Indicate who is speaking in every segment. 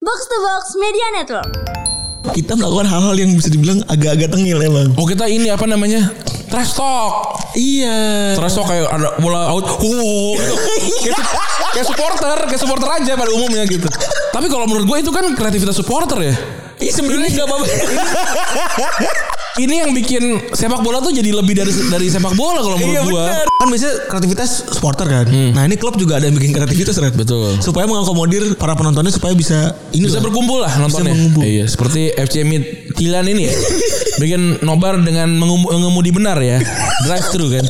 Speaker 1: Box to Box Media Network.
Speaker 2: Kita melakukan hal-hal yang bisa dibilang agak-agak tengil emang.
Speaker 3: Oh kita ini apa namanya? Trash talk.
Speaker 2: Iya.
Speaker 3: Trash talk kayak ada bola out. Oh, gitu. kayak, su- kayak supporter, kayak supporter aja pada umumnya gitu. Tapi kalau menurut gue itu kan kreativitas supporter ya.
Speaker 2: Ini Iya, sebenarnya nggak apa-apa.
Speaker 3: Ini yang bikin sepak bola tuh jadi lebih dari dari sepak bola kalau menurut
Speaker 2: Iya
Speaker 3: gue.
Speaker 2: benar. Kan biasanya kreativitas supporter kan. Nah ini klub juga ada yang bikin kreativitas Red.
Speaker 3: Betul.
Speaker 2: Supaya mengakomodir para penontonnya supaya bisa ini
Speaker 3: Bisa
Speaker 2: lah.
Speaker 3: berkumpul lah nontonnya.
Speaker 2: mengumpul.
Speaker 3: Iya, seperti FC Mid Tilan ini ya. Bikin nobar dengan mengum- mengemudi benar ya. Drive thru kan.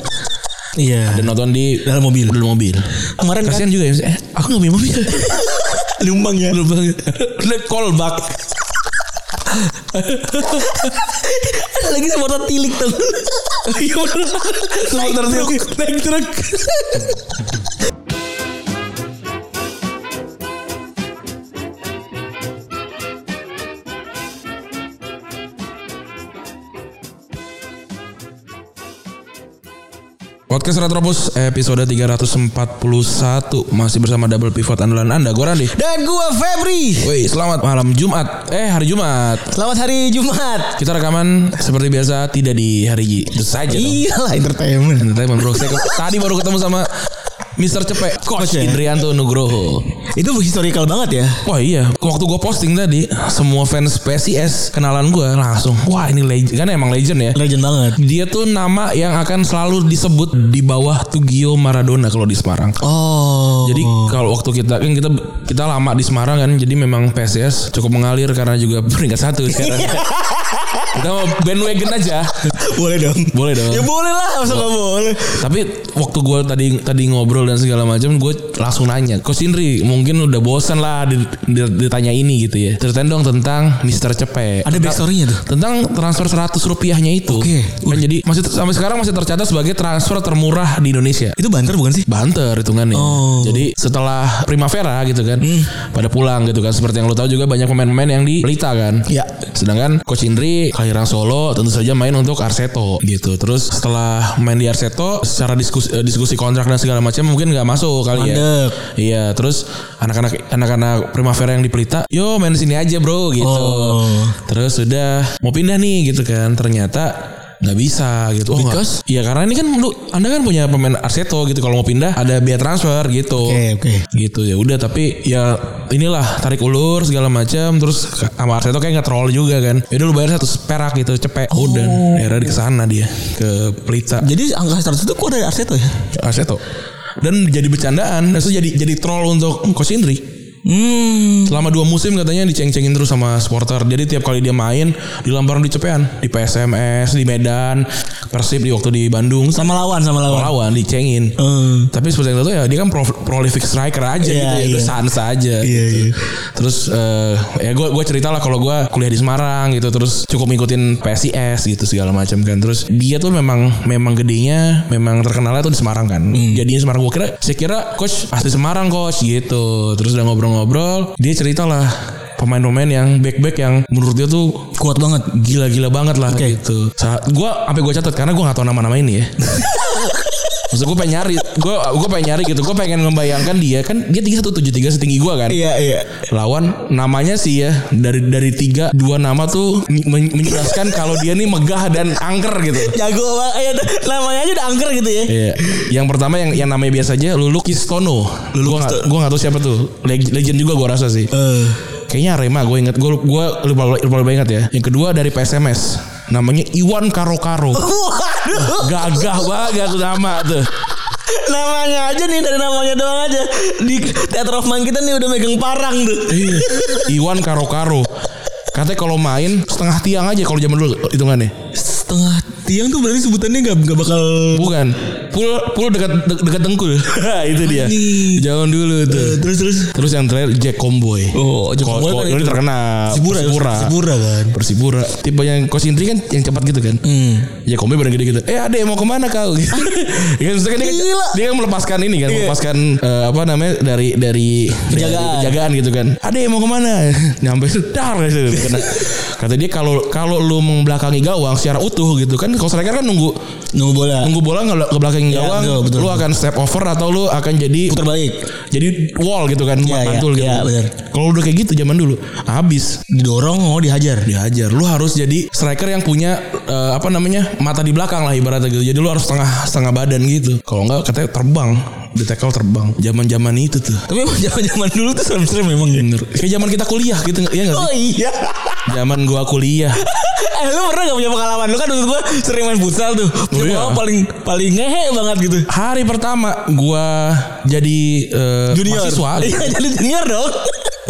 Speaker 2: Iya.
Speaker 3: Dan nonton di
Speaker 2: Dalam mobil.
Speaker 3: Dalam mobil.
Speaker 2: Kemarin kan
Speaker 3: Kasihan juga ya. Eh, aku gak punya mobil.
Speaker 2: lumbang ya.
Speaker 3: Lumbang. Udah callback.
Speaker 2: Lagi supporter tilik tuh.
Speaker 3: Iya bener. Supporter
Speaker 2: Naik
Speaker 3: truk. Naik truk. Podcast Retropus episode 341 masih bersama double pivot andalan Anda gue Randi.
Speaker 2: Dan gua Febri.
Speaker 3: Woi, selamat malam Jumat. Eh, hari Jumat.
Speaker 2: Selamat hari Jumat.
Speaker 3: Kita rekaman seperti biasa tidak di hari itu saja. dong.
Speaker 2: Iyalah entertainment.
Speaker 3: Entertainment bro. Saya ke- tadi baru ketemu sama Mr. Cepek
Speaker 2: Coach
Speaker 3: Coach
Speaker 2: ya?
Speaker 3: Indrianto Nugroho
Speaker 2: Itu historical banget ya.
Speaker 3: Wah iya Waktu gue posting tadi Semua fans PSIS Kenalan gue langsung Wah ini legend Kan emang legend ya
Speaker 2: Legend banget.
Speaker 3: Dia tuh nama yang akan selalu disebut Di bawah Tugio Maradona Kalau di Semarang
Speaker 2: Oh.
Speaker 3: jadi kalau waktu kita kan kita kita lama di Semarang kan, jadi memang PSIS cukup mengalir karena juga peringkat satu sekarang. kita mau bandwagon aja.
Speaker 2: boleh dong.
Speaker 3: Boleh dong.
Speaker 2: Ya boleh lah, masa nggak boleh.
Speaker 3: Tapi waktu gue tadi tadi ngobrol dan segala macam, gue langsung nanya, Coach Indri mungkin udah bosan lah di- di- ditanya ini gitu ya. Ceritain dong tentang Mister Cepet.
Speaker 2: Ada backstory-nya tuh.
Speaker 3: Tentang transfer 100 rupiahnya itu.
Speaker 2: Oke.
Speaker 3: Kan jadi masih sampai sekarang masih tercatat sebagai transfer termurah di Indonesia.
Speaker 2: Itu banter bukan sih?
Speaker 3: Banter hitungannya.
Speaker 2: Oh. Hmm.
Speaker 3: Jadi setelah Primavera gitu kan, pada pulang gitu kan. Seperti yang lo tahu juga banyak pemain-pemain yang di Pelita kan.
Speaker 2: Ya.
Speaker 3: Sedangkan Coach Indri Kelahiran Solo tentu saja main untuk Arseto gitu. Terus setelah main di Arseto secara diskusi eh, diskusi kontrak dan segala macam mungkin nggak masuk kali ya.
Speaker 2: Mandek.
Speaker 3: Iya, terus anak-anak anak-anak Primavera yang di Pelita, "Yo, main di sini aja, Bro." gitu.
Speaker 2: Oh.
Speaker 3: Terus udah mau pindah nih gitu kan. Ternyata nggak bisa gitu. Oh,
Speaker 2: Because?
Speaker 3: nggak- Iya, karena ini kan lu Anda kan punya pemain Arseto gitu. Kalau mau pindah ada biaya transfer gitu
Speaker 2: Oke, oke.
Speaker 3: gitu ya udah tapi ya inilah tarik ulur segala macam terus sama Arteta kayak nggak troll juga kan ya udah lu bayar satu perak gitu cepet udah akhirnya di kesana dia ke Pelita
Speaker 2: Jadi angka 100 itu kok dari Arseto ya?
Speaker 3: Arteta dan jadi bercandaan itu jadi jadi troll untuk Coach Indri
Speaker 2: Hmm.
Speaker 3: selama dua musim katanya diceng-cengin terus sama supporter jadi tiap kali dia main dilambaran di cepean di PSMS di Medan Persib di waktu di Bandung
Speaker 2: Sama lawan, sama lawan.
Speaker 3: lawan dicengin
Speaker 2: Hmm.
Speaker 3: tapi seperti itu ya dia kan pro- prolific striker aja
Speaker 2: Iya,
Speaker 3: gitu ya. Itu
Speaker 2: iya.
Speaker 3: sans aja
Speaker 2: Iya,
Speaker 3: gitu.
Speaker 2: iya.
Speaker 3: Terus eh, ya gue gue cerita lah kalau gue kuliah di Semarang gitu terus cukup ngikutin PSIS gitu segala macam kan. Terus dia tuh memang memang gedenya memang terkenalnya tuh di Semarang kan.
Speaker 2: Hmm.
Speaker 3: Jadinya Semarang gue kira saya kira coach asli Semarang coach gitu. Terus udah ngobrol-ngobrol dia cerita lah pemain-pemain yang back-back yang menurut dia tuh
Speaker 2: Kuat banget.
Speaker 3: gila-gila banget lah
Speaker 2: Oke.
Speaker 3: gitu. Saat gua sampai gua catat karena gua gak tahu nama-nama ini ya. Maksud gue pengen nyari, gue gue pengen nyari gitu, gue pengen membayangkan dia kan dia tiga satu tujuh tiga setinggi gue kan,
Speaker 2: Iya, iya.
Speaker 3: lawan namanya sih ya dari dari tiga dua nama tuh men- menjelaskan kalau dia nih megah dan angker gitu.
Speaker 2: Jago banget. Ayo, namanya aja udah angker gitu ya.
Speaker 3: Iya. Yang pertama yang yang namanya biasa aja Lulu Kistono. Lulu gua nggak gua nggak tahu siapa tuh. Leg- Legend juga gua rasa sih.
Speaker 2: Eh,
Speaker 3: Kayaknya Arema gue inget Gue gua lupa, lupa, lupa inget ya Yang kedua dari PSMS Namanya Iwan Karo Karo
Speaker 2: waduh,
Speaker 3: Gagah banget ya tuh nama tuh
Speaker 2: namanya aja nih dari namanya doang aja di teater of mind kita nih udah megang parang tuh.
Speaker 3: Iya. Iwan Karo Karo Katanya kalau main setengah tiang aja kalau zaman dulu hitungannya.
Speaker 2: Eh, Setengah tiang tuh berarti sebutannya nggak nggak bakal
Speaker 3: Bukan. Pul pul dekat de- dekat dengkul. itu dia.
Speaker 2: Anjing.
Speaker 3: Jangan dulu tuh.
Speaker 2: Eh, terus terus.
Speaker 3: Terus yang terakhir Jack Comboy.
Speaker 2: Oh, Jack
Speaker 3: Ko-
Speaker 2: Comboy
Speaker 3: ko-
Speaker 2: kan
Speaker 3: ini
Speaker 2: itu.
Speaker 3: terkenal.
Speaker 2: Sibura,
Speaker 3: Persipura.
Speaker 2: Sibura ya? kan.
Speaker 3: Persibura. Tipe yang Coach Indri kan yang cepat gitu kan.
Speaker 2: Hmm.
Speaker 3: Ya kombi bareng gede gitu. Eh adek mau kemana kau? Gitu. ya kan maksudnya dia,
Speaker 2: Gila. Iya.
Speaker 3: dia kan melepaskan ini kan, melepaskan eh, apa namanya dari dari dari
Speaker 2: Penjagaan.
Speaker 3: penjagaan gitu kan. Adek mau kemana? Nyampe sedar gitu. Kena. Kata dia kalau kalau lu membelakangi gawang secara utuh gitu kan kalau striker kan nunggu
Speaker 2: Nunggu bola.
Speaker 3: nunggu bola nge- ke belakang
Speaker 2: Iya,
Speaker 3: gawang,
Speaker 2: betul, betul,
Speaker 3: lu
Speaker 2: betul.
Speaker 3: akan step over atau lu akan jadi
Speaker 2: Putar balik.
Speaker 3: jadi wall gitu kan
Speaker 2: Iya, iya,
Speaker 3: mantul gitu.
Speaker 2: iya, benar.
Speaker 3: Kalau udah kayak gitu zaman dulu habis
Speaker 2: Didorong mau dihajar.
Speaker 3: dihajar. Lu harus jadi striker yang punya eh, apa namanya mata di belakang lah ibaratnya gitu. Jadi lu harus setengah setengah badan gitu. Kalau enggak katanya terbang, di tackle terbang. Zaman zaman itu tuh.
Speaker 2: Tapi emang zaman-zaman dulu tuh serem-serem memang ya.
Speaker 3: Bener. Kayak zaman kita kuliah gitu ya nggak sih?
Speaker 2: Oh iya.
Speaker 3: Zaman gua kuliah.
Speaker 2: eh lu pernah gak punya pengalaman? Lu kan dulu gua sering main futsal tuh. Punya
Speaker 3: Oh, iya.
Speaker 2: pengalaman paling paling ngehe banget gitu.
Speaker 3: Hari pertama gua jadi eh,
Speaker 2: Junior.
Speaker 3: mahasiswa.
Speaker 2: Iya jadi junior dong.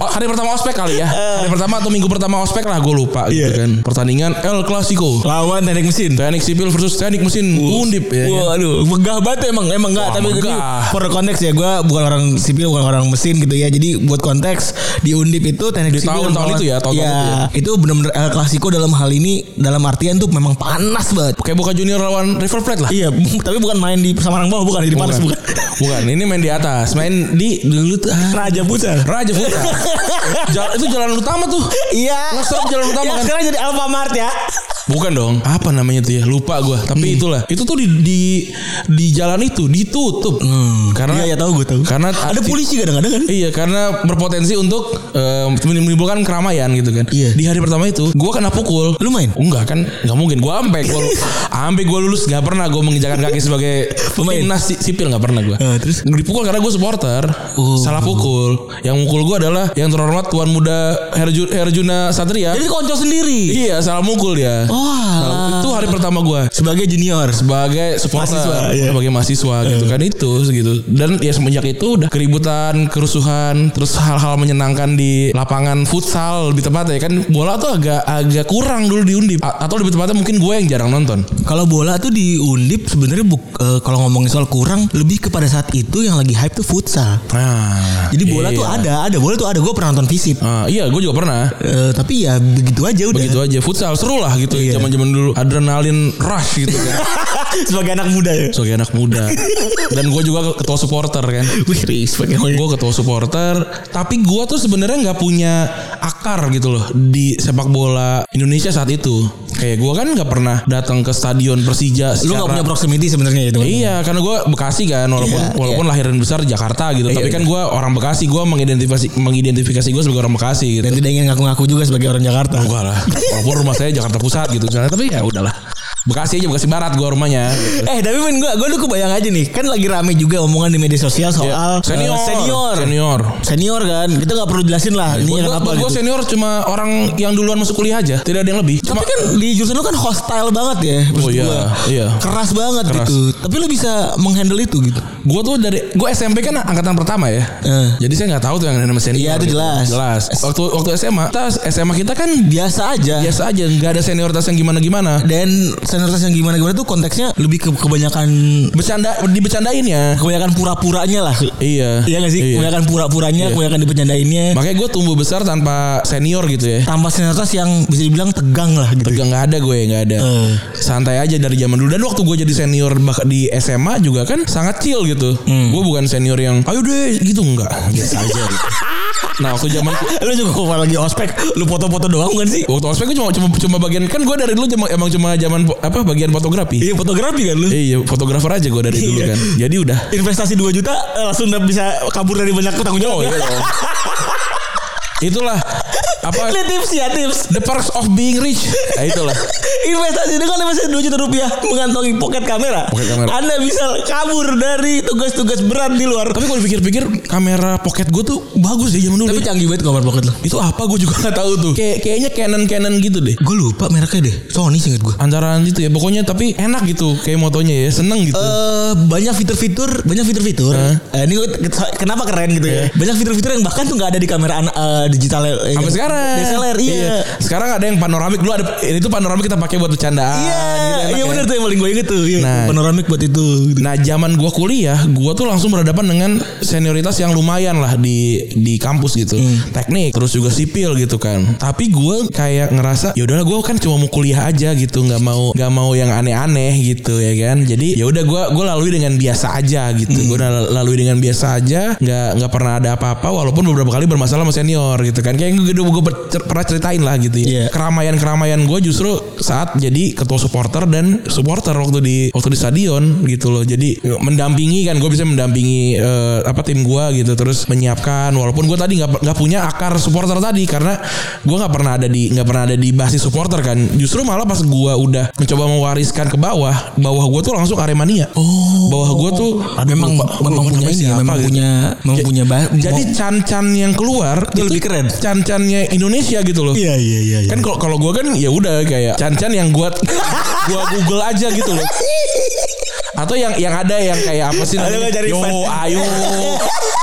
Speaker 3: Oh, hari pertama ospek kali ya. Hari pertama atau minggu pertama ospek lah gue lupa gitu
Speaker 2: Iya.
Speaker 3: kan. Pertandingan El Clasico.
Speaker 2: Lawan teknik mesin.
Speaker 3: Teknik sipil versus teknik mesin undip ya.
Speaker 2: Wah, aduh, megah banget emang, emang enggak.
Speaker 3: Wah,
Speaker 2: tapi jadi
Speaker 3: megah.
Speaker 2: for the konteks ya, gue bukan orang sipil, bukan orang mesin gitu ya. Jadi buat konteks di Undip itu teknik
Speaker 3: Di tahun-tahun
Speaker 2: melawan-
Speaker 3: itu ya, tahun-tahun
Speaker 2: Iya, itu benar-benar El Clasico dalam hal ini dalam artian tuh memang panas banget.
Speaker 3: Kayak Boca Junior lawan River Plate lah.
Speaker 2: Iya, tapi bukan main di Samarang bawah, bukan di panas bukan.
Speaker 3: Bukan, ini main di atas, main di dulu tuh ah,
Speaker 2: Raja Buta.
Speaker 3: Raja Futsal. Jalan- itu jalan utama tuh.
Speaker 2: Iya.
Speaker 3: Ngesel jalan utama
Speaker 2: Yang
Speaker 3: kan.
Speaker 2: sekarang jadi Alfamart ya.
Speaker 3: Bukan dong. Apa namanya tuh ya? Lupa gua.
Speaker 2: Hmm.
Speaker 3: Tapi itulah. Itu tuh di di di jalan itu ditutup. Hmm, Karena
Speaker 2: Iya, ya tahu gue tahu.
Speaker 3: Karena
Speaker 2: ada polisi kadang-kadang kan.
Speaker 3: Iya karena berpotensi untuk eh, menimbulkan keramaian gitu kan.
Speaker 2: Iya.
Speaker 3: Di hari pertama itu gua kena pukul.
Speaker 2: Lu main?
Speaker 3: Enggak kan? Enggak mungkin. Gua ampe gua ampe gua lulus enggak pernah gua menginjakan kaki sebagai
Speaker 2: Pemain?
Speaker 3: timnas si- sipil enggak pernah gua.
Speaker 2: Eh, terus? Oh.
Speaker 3: dipukul karena gua supporter. Salah pukul. Yang mukul gua adalah yang terhormat tuan muda Herju- Herjuna Satria.
Speaker 2: Jadi Oh. konco sendiri.
Speaker 3: Iya, salah mukul dia.
Speaker 2: Wah.
Speaker 3: Itu hari pertama gua
Speaker 2: Sebagai junior.
Speaker 3: sebagai supporter
Speaker 2: Mahasiswa, iya.
Speaker 3: sebagai mahasiswa gitu kan itu gitu dan ya semenjak itu udah keributan kerusuhan terus hal-hal menyenangkan di lapangan futsal lebih tepatnya ya kan bola tuh agak agak kurang dulu di Undip A- atau lebih tepatnya mungkin gue yang jarang nonton
Speaker 2: Kalau bola tuh di Undip sebenarnya buk- eh, kalau ngomongin soal kurang lebih kepada saat itu yang lagi hype tuh futsal.
Speaker 3: nah
Speaker 2: Jadi bola tuh ada, ada bola tuh ada. Gue pernah nonton visip.
Speaker 3: iya gue juga pernah
Speaker 2: Eh, tapi ya begitu aja udah.
Speaker 3: begitu aja futsal seru lah gitu
Speaker 2: Iya.
Speaker 3: zaman-zaman dulu adrenalin rush gitu kan
Speaker 2: Sebagai anak muda ya.
Speaker 3: sebagai anak muda dan gue juga ketua supporter kan
Speaker 2: Wih, respect
Speaker 3: gue ketua supporter tapi gue tuh sebenarnya nggak punya akar gitu loh di sepak bola Indonesia saat itu kayak gue kan nggak pernah datang ke stadion Persija
Speaker 2: Lu gak
Speaker 3: secara-
Speaker 2: punya proximity sebenarnya gitu kan? itu.
Speaker 3: Iya, karena gue Bekasi kan, walaupun
Speaker 2: Iya,
Speaker 3: walaupun lahir dan besar di Jakarta gitu, tapi kan gue orang Bekasi, gue mengidentifikasi mengidentifikasi gue sebagai orang Bekasi gitu.
Speaker 2: Dan tidak ingin ngaku-ngaku juga sebagai orang Jakarta.
Speaker 3: Enggak lah, walaupun rumah saya Jakarta Pusat gitu, misalnya, tapi ya udahlah. Bekasi aja, Bekasi Barat gue rumahnya. Gitu.
Speaker 2: Eh tapi men gue gue tuh kebayang aja nih kan lagi rame juga omongan di media sosial soal eh,
Speaker 3: Iya. senior,
Speaker 2: senior
Speaker 3: senior.
Speaker 2: Senior kan kita nggak perlu jelasin lah ini
Speaker 3: Buat
Speaker 2: kenapa
Speaker 3: gue
Speaker 2: gitu.
Speaker 3: senior cuma orang yang duluan masuk kuliah aja, tidak ada yang lebih. Cuma
Speaker 2: Tapi kan di jurusan lu kan hostile banget ya. maksud
Speaker 3: Oh, iya,
Speaker 2: gua.
Speaker 3: iya.
Speaker 2: Keras banget
Speaker 3: Keras.
Speaker 2: gitu. Tapi lu bisa menghandle itu gitu.
Speaker 3: Gue tuh dari gue SMP kan angkatan pertama ya.
Speaker 2: Eh.
Speaker 3: Jadi saya nggak tahu tuh yang namanya senior.
Speaker 2: Iya, itu
Speaker 3: gitu.
Speaker 2: jelas.
Speaker 3: Jelas. Waktu waktu SMA, kita SMA kita kan
Speaker 2: Biasa aja.
Speaker 3: biasa aja, nggak ada senioritas yang gimana-gimana.
Speaker 2: Dan senioritas yang gimana-gimana tuh konteksnya lebih ke kebanyakan
Speaker 3: Bercanda dibecandain ya.
Speaker 2: kebanyakan pura-puranya lah.
Speaker 3: Iya.
Speaker 2: Iya gak sih?
Speaker 3: Iya.
Speaker 2: Kebanyakan pura-puranya, kebanyakan dipenyandainnya.
Speaker 3: Makanya gue tumbuh besar tanpa senior gitu ya.
Speaker 2: Tanpa senioritas yang bisa dibilang tegang lah gitu.
Speaker 3: Tegang nggak ada gue nggak ada.
Speaker 2: Eh.
Speaker 3: Santai aja dari zaman dulu dan waktu gue jadi senior bak- di SMA juga kan sangat chill gitu.
Speaker 2: Hmm.
Speaker 3: Gue bukan senior yang ayo deh gitu enggak. Biasa aja gitu. Nah waktu zaman
Speaker 2: lu juga kalau lagi ospek, lu foto-foto doang kan sih?
Speaker 3: Waktu ospek gue cuma cuma cuma bagian kan gue dari dulu cuma emang cuma zaman po- apa bagian fotografi.
Speaker 2: Iya fotografi kan lu.
Speaker 3: Eh, Iya, fotografer aja gue dari dulu
Speaker 2: Iya.
Speaker 3: kan. Jadi udah.
Speaker 2: Investasi 2 juta eh, langsung udah bisa kabur dari banyak utang jawab. ya.
Speaker 3: Oh, iya Itulah
Speaker 2: Ini
Speaker 3: apa
Speaker 2: tips ya tips.
Speaker 3: the perks of being rich. Nah, itulah.
Speaker 2: Investasi dengan investasi 2 juta rupiah mengantongi pocket kamera.
Speaker 3: Pocket kamera.
Speaker 2: Anda bisa kabur dari tugas-tugas berat di luar.
Speaker 3: Tapi kalau dipikir-pikir kamera pocket gue tuh bagus ya zaman dulu.
Speaker 2: Tapi canggih banget kamera pocket lo.
Speaker 3: itu apa gue juga nggak tahu tuh. Kayak kayaknya Canon Canon gitu deh.
Speaker 2: Gue lupa mereknya deh. Sony singkat gue.
Speaker 3: Antaran gitu ya. Pokoknya tapi enak gitu kayak motonya ya. Seneng gitu.
Speaker 2: Eh banyak fitur-fitur, banyak fitur-fitur. Eh, ini gua- kenapa keren gitu ya? Banyak fitur-fitur yang bahkan tuh nggak ada di kamera an- eh, digital eh,
Speaker 3: Iya. Sampai sekarang. Ah,
Speaker 2: DSLR, iya.
Speaker 3: Sekarang ada yang panoramik. Dulu ada itu panoramik kita pakai buat bercandaan.
Speaker 2: Iya,
Speaker 3: gitu, enak
Speaker 2: iya
Speaker 3: ya.
Speaker 2: benar tuh yang paling gue inget tuh. Iya.
Speaker 3: Nah.
Speaker 2: Panoramik buat itu. gitu.
Speaker 3: Nah, zaman gua kuliah, gua tuh langsung berhadapan dengan senioritas yang lumayan lah di di kampus gitu.
Speaker 2: Hmm.
Speaker 3: Teknik, terus juga sipil gitu kan. Tapi gua kayak ngerasa ya udahlah gua kan cuma mau kuliah aja gitu, nggak mau nggak mau yang aneh-aneh gitu ya kan. Jadi ya udah gua gua lalui dengan biasa aja gitu.
Speaker 2: Hmm.
Speaker 3: Gua lal- lalui dengan biasa aja, nggak nggak pernah ada apa-apa walaupun beberapa kali bermasalah sama senior gitu kan. Kayak gue gue pernah ceritain lah gitu
Speaker 2: Iya.
Speaker 3: ya. Keramaian-keramaian gue justru saat jadi ketua supporter dan supporter waktu di waktu di stadion gitu loh. Jadi mendampingi kan gue bisa mendampingi eh, apa tim gue gitu terus menyiapkan walaupun gue tadi nggak nggak punya akar supporter tadi karena gue nggak pernah ada di nggak pernah ada di basis supporter kan. Justru malah pas gue udah mencoba mewariskan ke bawah, bawah gue tuh langsung aremania. Oh. Bawah gue tuh
Speaker 2: Aduh, memang memang
Speaker 3: grupnya
Speaker 2: punya ini ya,
Speaker 3: siapa
Speaker 2: memang
Speaker 3: gitu.
Speaker 2: punya memang
Speaker 3: Ja-
Speaker 2: punya bah-
Speaker 3: Jadi
Speaker 2: mau-
Speaker 3: can-can yang keluar
Speaker 2: Oh. Itu lebih keren.
Speaker 3: Can-cannya Indonesia gitu loh.
Speaker 2: iya iya iya. iya.
Speaker 3: Kan kalau kalau gua kan ya udah kayak can-can yang gua gua Google aja gitu loh. Atau yang yang ada yang kayak apa sih
Speaker 2: Ada nggak cari
Speaker 3: Yo,
Speaker 2: fan?
Speaker 3: ayo.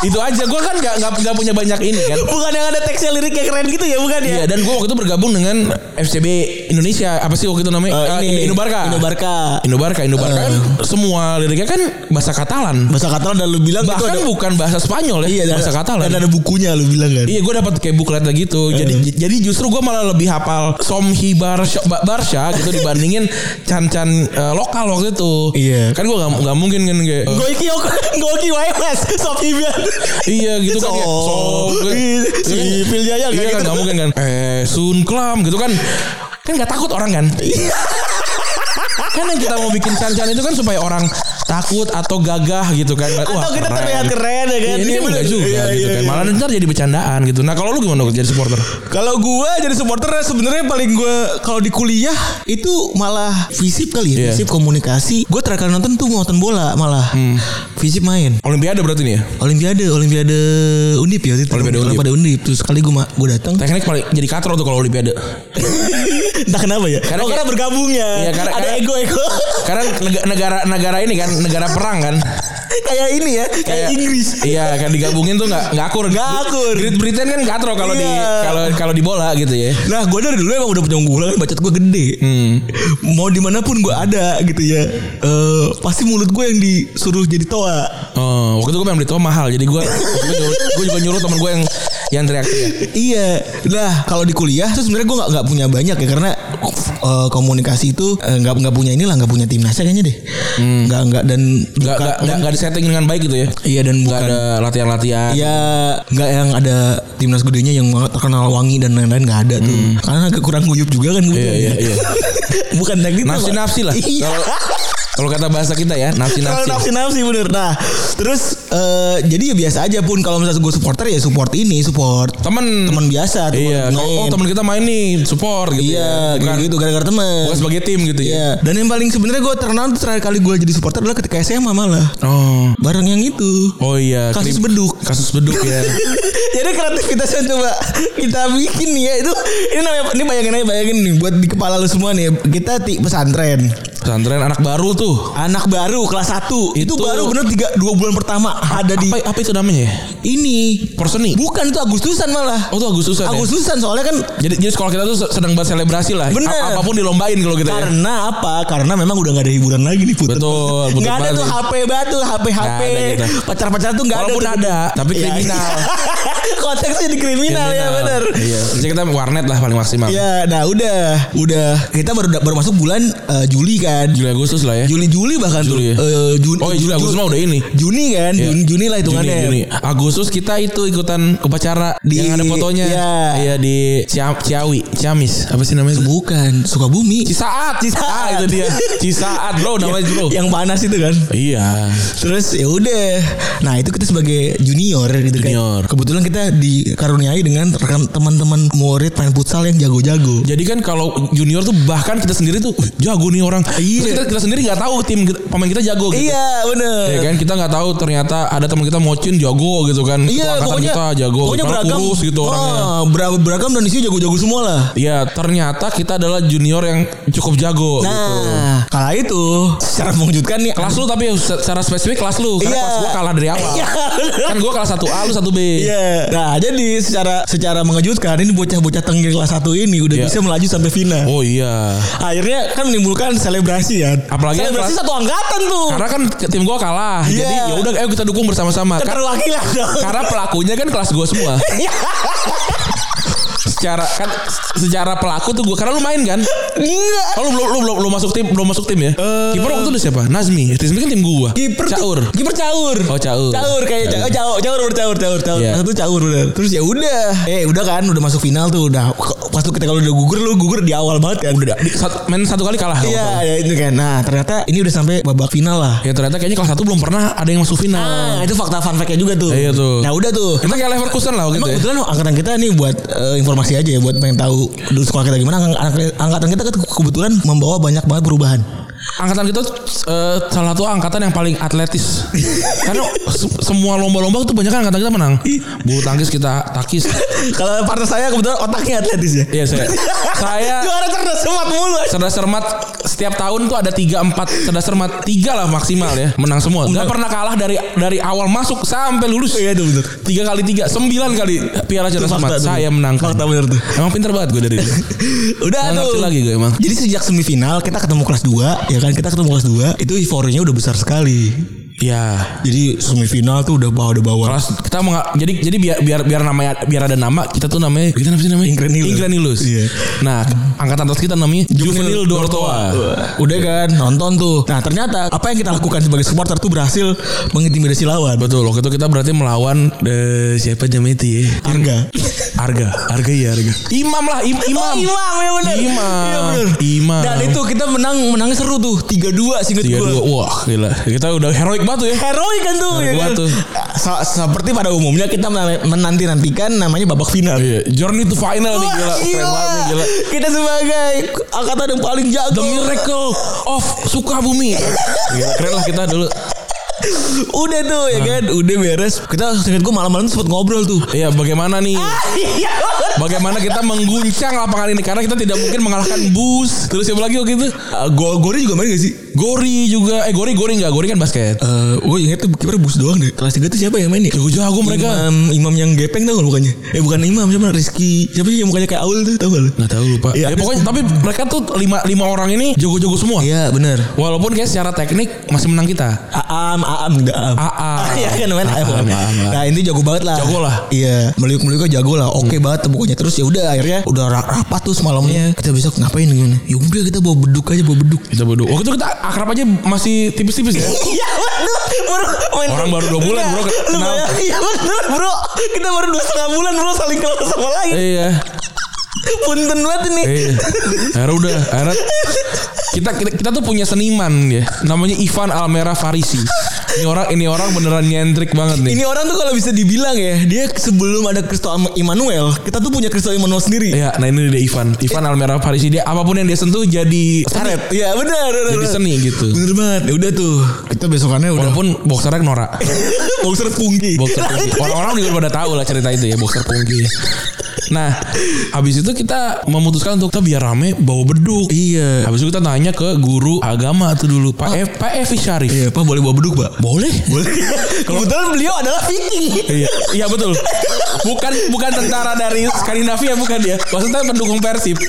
Speaker 3: Itu aja gua kan nggak nggak nggak punya banyak ini kan.
Speaker 2: bukan yang ada teksnya liriknya keren gitu ya, bukan ya?
Speaker 3: Iya dan gua waktu itu bergabung dengan FCB Indonesia apa sih waktu itu namanya
Speaker 2: Eh,
Speaker 3: Eh,
Speaker 2: ini, Eh.
Speaker 3: Indobarka
Speaker 2: Indobarka.
Speaker 3: Indobarka Indobarka kan semua liriknya kan bahasa Katalan
Speaker 2: Bahasa Katalan dan lu bilang itu
Speaker 3: bahkan
Speaker 2: ada- Iya,
Speaker 3: bukan bahasa Spanyol ya
Speaker 2: dan-
Speaker 3: bahasa Katalan
Speaker 2: Dan ada bukunya lu bilang kan.
Speaker 3: Iya gue dapat kayak bukletnya gitu.
Speaker 2: Eh.
Speaker 3: Jadi j- jadi justru gue malah lebih hafal Somhi Barsha, Ba- Barsha gitu dibandingin can-can eh, lokal waktu itu.
Speaker 2: Iya.
Speaker 3: Kan gue gak, nggak mungkin kan kayak eh,
Speaker 2: Goiki yo Goiki wae Mas, Sob Ibian.
Speaker 3: Iya gitu kan kayak,
Speaker 2: So,
Speaker 3: gue-
Speaker 2: si
Speaker 3: Iya kan?
Speaker 2: Phil Jaya
Speaker 3: Iya
Speaker 2: kayak
Speaker 3: kan
Speaker 2: gitu.
Speaker 3: gak mungkin kan. Eh Sun Klam gitu kan. Kan gak takut orang kan.
Speaker 2: Iya.
Speaker 3: kan yang kita mau bikin can-can itu kan supaya orang takut atau gagah gitu kan.
Speaker 2: Atau kita
Speaker 3: keren.
Speaker 2: terlihat keren ya kan.
Speaker 3: Iya, ini
Speaker 2: Iya,
Speaker 3: enggak
Speaker 2: bener.
Speaker 3: juga
Speaker 2: Iya,
Speaker 3: gitu
Speaker 2: iya,
Speaker 3: kan.
Speaker 2: iya.
Speaker 3: Malah ntar jadi bercandaan gitu. Nah kalau lu gimana Dok, jadi supporter?
Speaker 2: Kalau gua jadi supporter sebenarnya paling gua kalau di kuliah itu malah visip kali ya,
Speaker 3: Iya. Hmm.
Speaker 2: visip komunikasi. Gua terakhir nonton tuh nonton bola malah. Visip main.
Speaker 3: Olimpiade berarti nih ya?
Speaker 2: Olimpiade, Olimpiade Undip ya waktu itu.
Speaker 3: Olimpiade Undip.
Speaker 2: Pada Undip. Terus sekali gua ma- gua datang.
Speaker 3: Teknik paling jadi katro tuh kalau Olimpiade.
Speaker 2: Entah kenapa ya.
Speaker 3: Karena
Speaker 2: oh,
Speaker 3: kayak-
Speaker 2: karena bergabung ya.
Speaker 3: Iya, karena-
Speaker 2: ada
Speaker 3: karena-
Speaker 2: ego-ego.
Speaker 3: Karena neg- negara negara ini kan negara perang kan.
Speaker 2: kayak ini ya, kayak,
Speaker 3: Kayak-
Speaker 2: Inggris.
Speaker 3: Iya, kan digabungin tuh nggak nggak akur.
Speaker 2: Nggak akur.
Speaker 3: Great Britain kan katro kalau di
Speaker 2: Iya.
Speaker 3: kalau kalau di bola gitu ya.
Speaker 2: Nah, gua dari dulu emang udah punya unggulan, bacot gua gede.
Speaker 3: Hmm.
Speaker 2: Mau dimanapun gua ada gitu ya. Eh, pasti mulut gua yang disuruh jadi toa.
Speaker 3: Oh, waktu itu gue pengen beli tua mahal. Jadi gue gue juga nyuruh temen gue yang yang teriak teriak.
Speaker 2: Iya. Nah, kalau di kuliah tuh sebenarnya gua nggak nggak punya banyak ya karena eh, komunikasi itu eh, nggak nggak punya inilah, nggak punya timnasnya kayaknya deh.
Speaker 3: Hmm.
Speaker 2: Nggak nggak dan
Speaker 3: Gak
Speaker 2: bukan-
Speaker 3: gak gak, gak disetting dengan baik gitu ya.
Speaker 2: Iya dan
Speaker 3: Gak
Speaker 2: bukan
Speaker 3: ada latihan-latihan.
Speaker 2: Ya nggak yang ada timnas gedenya yang banget terkenal wangi dan lain-lain nggak ada tuh. Karena agak kurang guyup juga kan gue.
Speaker 3: Hmm. Iya, iya, iya.
Speaker 2: Bukan gitu.
Speaker 3: Nafsi-nafsi lah.
Speaker 2: Iya.
Speaker 3: Kalau- Kalau kata bahasa kita ya,
Speaker 2: Kalau
Speaker 3: nafsi-nafsi.
Speaker 2: nafsi-nafsi bener. Nah, terus eh, jadi ya biasa aja pun kalau misalnya gue supporter ya support ini, support
Speaker 3: Temen
Speaker 2: teman biasa, teman
Speaker 3: Iya,
Speaker 2: main.
Speaker 3: oh teman kita main nih, support gitu.
Speaker 2: Iya,
Speaker 3: ya. Bukan-
Speaker 2: gitu gara-gara teman.
Speaker 3: Bukan sebagai tim gitu ya.
Speaker 2: Iya. Dan yang paling sebenarnya gue terkenal tuh terakhir kali gue jadi supporter adalah ketika SMA malah.
Speaker 3: Oh.
Speaker 2: Bareng yang itu.
Speaker 3: Oh iya,
Speaker 2: Kasus
Speaker 3: krim-
Speaker 2: beduk.
Speaker 3: Kasus beduk ya.
Speaker 2: Jadi kreativitas yang coba kita bikin nih ya itu ini namanya ini bayangin aja bayangin nih buat di kepala lu semua nih kita ti pesantren
Speaker 3: Pesantren anak baru tuh.
Speaker 2: anak baru kelas 1 itu,
Speaker 3: Itu-
Speaker 2: baru bener tiga dua bulan pertama ada di
Speaker 3: Apa, apa itu namanya ya?
Speaker 2: ini
Speaker 3: Porseni.
Speaker 2: bukan itu Agustusan malah
Speaker 3: Oh tuh Agustusan ya?
Speaker 2: Agustusan soalnya kan
Speaker 3: Jadi, jadi sekolah kita tuh sedang buat selebrasi lah.
Speaker 2: Bener.
Speaker 3: A- apapun dilombain kalau kita ya.
Speaker 2: karena apa karena memang udah nggak ada hiburan lagi nih putut
Speaker 3: Betul, betul
Speaker 2: nggak ada tuh
Speaker 3: banget.
Speaker 2: HP batu HP HP
Speaker 3: Nggak ada gitu.
Speaker 2: pacar pacar tuh nggak ada
Speaker 3: Walaupun
Speaker 2: tuh.
Speaker 3: ada, tapi
Speaker 2: Iya.
Speaker 3: kriminal.
Speaker 2: konteksnya jadi kriminal, ya bener
Speaker 3: Iya. Jadi kita warnet lah paling maksimal.
Speaker 2: Ya, nah udah, udah kita baru baru masuk bulan eh, Juli kan.
Speaker 3: Juli Agustus lah ya.
Speaker 2: Juli Juli bahkan
Speaker 3: Juli ya.
Speaker 2: tuh. Eh, Jun-
Speaker 3: Oh, Juli Agustus
Speaker 2: Jun-
Speaker 3: mah udah ini.
Speaker 2: Juni kan,
Speaker 3: Iya.
Speaker 2: Juni, Juni lah hitungannya. ya.
Speaker 3: Juni, Juni. Agustus kita itu ikutan upacara
Speaker 2: Di-
Speaker 3: yang ada fotonya.
Speaker 2: iya.
Speaker 3: Iya di Cia- Ciawi, Ciamis. Apa sih namanya?
Speaker 2: Bukan Sukabumi.
Speaker 3: Cisaat,
Speaker 2: Cisaat.
Speaker 3: Ah, itu dia. Cisaat, bro, namanya bro.
Speaker 2: Yang panas itu kan.
Speaker 3: Iya.
Speaker 2: Terus ya udah. Nah, itu kita sebagai junior gitu
Speaker 3: Junior.
Speaker 2: kan. Kebetulan kita dikaruniai dengan rekan teman-teman murid main futsal yang jago-jago.
Speaker 3: Jadi kan kalau junior tuh bahkan kita sendiri tuh "Wih, jago nih orang. Terus
Speaker 2: Iya.
Speaker 3: kita, kita sendiri nggak tahu tim kita- pemain kita jago gitu.
Speaker 2: Iya, bener.
Speaker 3: Ya kan kita nggak tahu ternyata ada teman kita mocin jago gitu kan. Ketua
Speaker 2: Iya,
Speaker 3: angkatan
Speaker 2: pokoknya
Speaker 3: kita jago.
Speaker 2: Pokoknya
Speaker 3: Padahal
Speaker 2: beragam.
Speaker 3: kurus gitu orangnya.
Speaker 2: Ah, ber- beragam dan isinya jago-jago semua lah.
Speaker 3: Iya, ternyata kita adalah junior yang cukup jago gitu.
Speaker 2: Nah, kala itu secara mengejutkan nih
Speaker 3: Kelas lu tapi se- secara spesifik kelas lu karena
Speaker 2: Iya.
Speaker 3: kelas gua kalah dari awal.
Speaker 2: Iya.
Speaker 3: kan gua kelas 1A lu 1B.
Speaker 2: Iya. Nah, jadi secara secara mengejutkan ini bocah-bocah tenggiri kelas 1 ini udah
Speaker 3: Iya.
Speaker 2: bisa melaju sampai final.
Speaker 3: Oh iya.
Speaker 2: Akhirnya kan menimbulkan selebrasi ya.
Speaker 3: Apalagi yang
Speaker 2: selebrasi
Speaker 3: kelas-
Speaker 2: satu angkatan tuh.
Speaker 3: Karena kan tim gua kalah.
Speaker 2: Iya.
Speaker 3: Jadi ya udah ayo kita dukung
Speaker 2: Kan
Speaker 3: bersama-sama. Kar-
Speaker 2: Keterwakilan dong.
Speaker 3: Karena pelakunya kan kelas gua semua. secara kan secara pelaku tuh gue karena lu main kan
Speaker 2: Enggak.
Speaker 3: kalau belum lu belum belum masuk tim belum masuk tim ya kiper waktu itu udah siapa Nazmi Nazmi kan tim gue
Speaker 2: Eh. Kiper tuh-
Speaker 3: caur
Speaker 2: Kiper caur.
Speaker 3: Oh, Caur.
Speaker 2: Caur kayak caur caur caur bercaur caur caur.
Speaker 3: Iya.
Speaker 2: Satu caur bener. Terus ya udah. Eh udah kan udah masuk final tuh udah pas lu ketika lu udah gugur lu gugur di awal banget kan udah.
Speaker 3: Di- sat- main satu kali kalah kalau
Speaker 2: Iya,
Speaker 3: nggak salah.
Speaker 2: ya itu kan. Nah, ternyata ini udah sampai babak final lah.
Speaker 3: ya ternyata kayaknya kelas satu belum pernah ada yang masuk final
Speaker 2: Nah, itu fakta fun fact-nya juga tuh.
Speaker 3: Ah. Iya tuh.
Speaker 2: Nah, udah tuh.
Speaker 3: kita kayak Leverkusen lah waktu itu
Speaker 2: Emang
Speaker 3: ya.
Speaker 2: kebetulan angkatan kita nih buat eh, informasi aja ya buat pengen tahu dulu sekolah kita gimana Ang- ang- angkatan kita ke- kebetulan membawa banyak banget perubahan.
Speaker 3: angkatan kita eh, salah satu angkatan yang paling atletis karena se- semua lomba-lomba tuh banyak kan angkatan kita menang
Speaker 2: Iya.
Speaker 3: bulu tangkis kita takis
Speaker 2: Kalau partner saya kebetulan otaknya atletis ya.
Speaker 3: Iya, saya- saya-
Speaker 2: juara cerdas semat mulu.
Speaker 3: cerdas cermat setiap tahun tuh ada tiga empat cerdas cermat tiga lah maksimal ya menang semua nggak pernah kalah dari dari awal masuk sampai lulus
Speaker 2: Iya itu bener.
Speaker 3: tiga kali tiga sembilan kali piala
Speaker 2: Itu
Speaker 3: cerdas
Speaker 2: fakta
Speaker 3: cermat
Speaker 2: tuh.
Speaker 3: saya menang
Speaker 2: Fakta bener tuh.
Speaker 3: emang pinter banget gue dari dulu
Speaker 2: Udah
Speaker 3: Nggak ngerti
Speaker 2: tuh.
Speaker 3: lagi gue emang
Speaker 2: Jadi sejak semifinal kita ketemu kelas 2 ya kan kita ketemu kelas 2 itu euforinya udah besar sekali.
Speaker 3: ya
Speaker 2: Jadi semifinal tuh udah bawa udah bawa.
Speaker 3: kelas kita mau nggak- jadi jadi biar biar biar namanya biar ada nama kita tuh namanya kita apa sih namanya
Speaker 2: Ingranilus.
Speaker 3: Ingranilus.
Speaker 2: Iya.
Speaker 3: nah angkatan atas kita namanya Juvenil Dortoa
Speaker 2: Udah kan nonton tuh. Nah ternyata apa yang kita lakukan sebagai supporter tuh berhasil mengintimidasi lawan.
Speaker 3: betul waktu itu kita berarti melawan eh, siapa namanya itu ya
Speaker 2: Arga.
Speaker 3: Arga, Arga ya Arga. Imam lah, im- imam.
Speaker 2: Oh, imam ya benar.
Speaker 3: Imam.
Speaker 2: Iya, benar.
Speaker 3: Imam.
Speaker 2: Dan itu kita menang menangnya seru tuh 3-2 singkat
Speaker 3: tiga
Speaker 2: gue.
Speaker 3: dua. Wah, gila. Kita udah heroik banget tuh ya.
Speaker 2: Heroik kan tuh
Speaker 3: Heroik
Speaker 2: ya kan?
Speaker 3: banget tuh.
Speaker 2: Sa- Seperti pada umumnya kita menanti nantikan namanya babak final.
Speaker 3: Iya, journey to final nih
Speaker 2: Wah,
Speaker 3: gila. Keren banget nih gila.
Speaker 2: Kita sebagai angkatan yang paling jago.
Speaker 3: The Miracle of Sukabumi. Gila, keren lah kita dulu.
Speaker 2: Udah tuh ya
Speaker 3: Nah.
Speaker 2: kan, udah beres. Kita singkat gue malam-malam sempat ngobrol tuh.
Speaker 3: Iya, bagaimana nih?
Speaker 2: Iya.
Speaker 3: Bagaimana kita mengguncang lapangan ini karena kita tidak mungkin mengalahkan bus. Terus siapa lagi waktu itu?
Speaker 2: Gol Gori juga main gak sih?
Speaker 3: Gori juga. Eh, Gori, Gori enggak? Gori kan basket.
Speaker 2: Eh, gue inget tuh kiper bus doang deh. Kelas 3 tuh siapa yang main nih?
Speaker 3: Jago-jago mereka.
Speaker 2: Imam, imam yang gepeng tau gak mukanya? Eh bukan imam siapa? Rizky. Siapa sih yang mukanya kayak Aul tuh tau gak lu?
Speaker 3: Nggak tahu lupa.
Speaker 2: Iya,
Speaker 3: Ya, pokoknya tapi mereka tuh lima, lima orang ini jago-jago semua.
Speaker 2: Iya benar.
Speaker 3: Walaupun kayak secara teknik masih menang kita.
Speaker 2: Aam, Aam, enggak Aam.
Speaker 3: Aam.
Speaker 2: Iya kan main Aam.
Speaker 3: Aam,
Speaker 2: kan?
Speaker 3: Aam, Aam.
Speaker 2: Nah, ini jago banget lah.
Speaker 3: Jago lah.
Speaker 2: Iya, meliuk-meliuknya jago lah. Oke banget tuh pokoknya. Terus ya udah akhirnya udah ra- rapat tuh semalamnya. Kita besok ngapain gimana? Ya udah kita bawa beduk aja, bawa beduk.
Speaker 3: Kita berdua. Waktu itu kita akrab aja masih tipis-tipis ya.
Speaker 2: Iya bener bro Main-
Speaker 3: Orang baru dua bulan, bro.
Speaker 2: Lu
Speaker 3: Kenal.
Speaker 2: bayang- Iya bener bro Kita baru dua setengah bulan bro Saling kenal sama lain
Speaker 3: iya.
Speaker 2: Punten banget ini
Speaker 3: Iya. Akhirnya udah. Akhirnya kita, kita kita tuh punya seniman ya. Namanya Ivan Almera Farisi. Ini orang ini orang beneran nyentrik banget nih.
Speaker 2: Ini orang tuh kalau bisa dibilang ya Dia sebelum ada Kristo Am- Immanuel Kita tuh punya Kristo Immanuel sendiri
Speaker 3: Iya, nah ini dia Ivan. Ivan Almera Farisi dia apapun yang dia sentuh jadi
Speaker 2: Karet Iya bener, bener
Speaker 3: jadi
Speaker 2: bener.
Speaker 3: seni gitu.
Speaker 2: Bener banget ya udah tuh Kita besokannya udah
Speaker 3: Walaupun boxernya norak.
Speaker 2: Boxer punggi
Speaker 3: Boxer Pungki. Orang-orang juga pada tahu lah cerita itu ya Boxer Pungki. Nah, habis itu kita memutuskan untuk kita biar rame bawa beduk.
Speaker 2: Iya. Oh.
Speaker 3: Habis itu kita tanya ke guru agama tuh dulu, Pak F, Pak Evi Syarif.
Speaker 2: Iya pak boleh bawa beduk pak
Speaker 3: Boleh.
Speaker 2: Boleh Kebetulan beliau adalah Viking
Speaker 3: Iya, iya betul. Bukan bukan tentara dari Skandinavia bukan dia. Maksudnya pendukung Persib.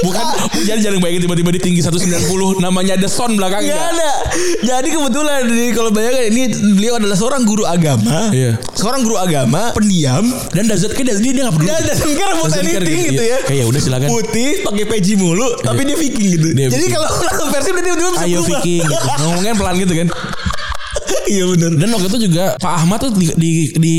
Speaker 3: Bukan jangan jangan bayangin tiba-tiba di tinggi 190 namanya ada son
Speaker 2: Gak
Speaker 3: belakangnya.
Speaker 2: ada. Jadi kebetulan ini kalau bayangkan ini beliau adalah seorang guru agama.
Speaker 3: Iya.
Speaker 2: Seorang guru agama pendiam
Speaker 3: Dan Dazat kayak Dazat dia dia nggak peduli.
Speaker 2: dan dan care about
Speaker 3: Doesn't care
Speaker 2: anything
Speaker 3: gitu,
Speaker 2: Iya. gitu
Speaker 3: iya.
Speaker 2: ya.
Speaker 3: Kayak udah silakan.
Speaker 2: Putih pakai peci mulu tapi dia Viking gitu.
Speaker 3: Dia
Speaker 2: Jadi
Speaker 3: Viking.
Speaker 2: kalau langsung versi dia tiba-tiba bisa
Speaker 3: Ayo
Speaker 2: berubah.
Speaker 3: Viking gitu. Ngomongnya pelan gitu kan.
Speaker 2: Iya benar.
Speaker 3: Dan waktu itu juga Pak Ahmad tuh di di di,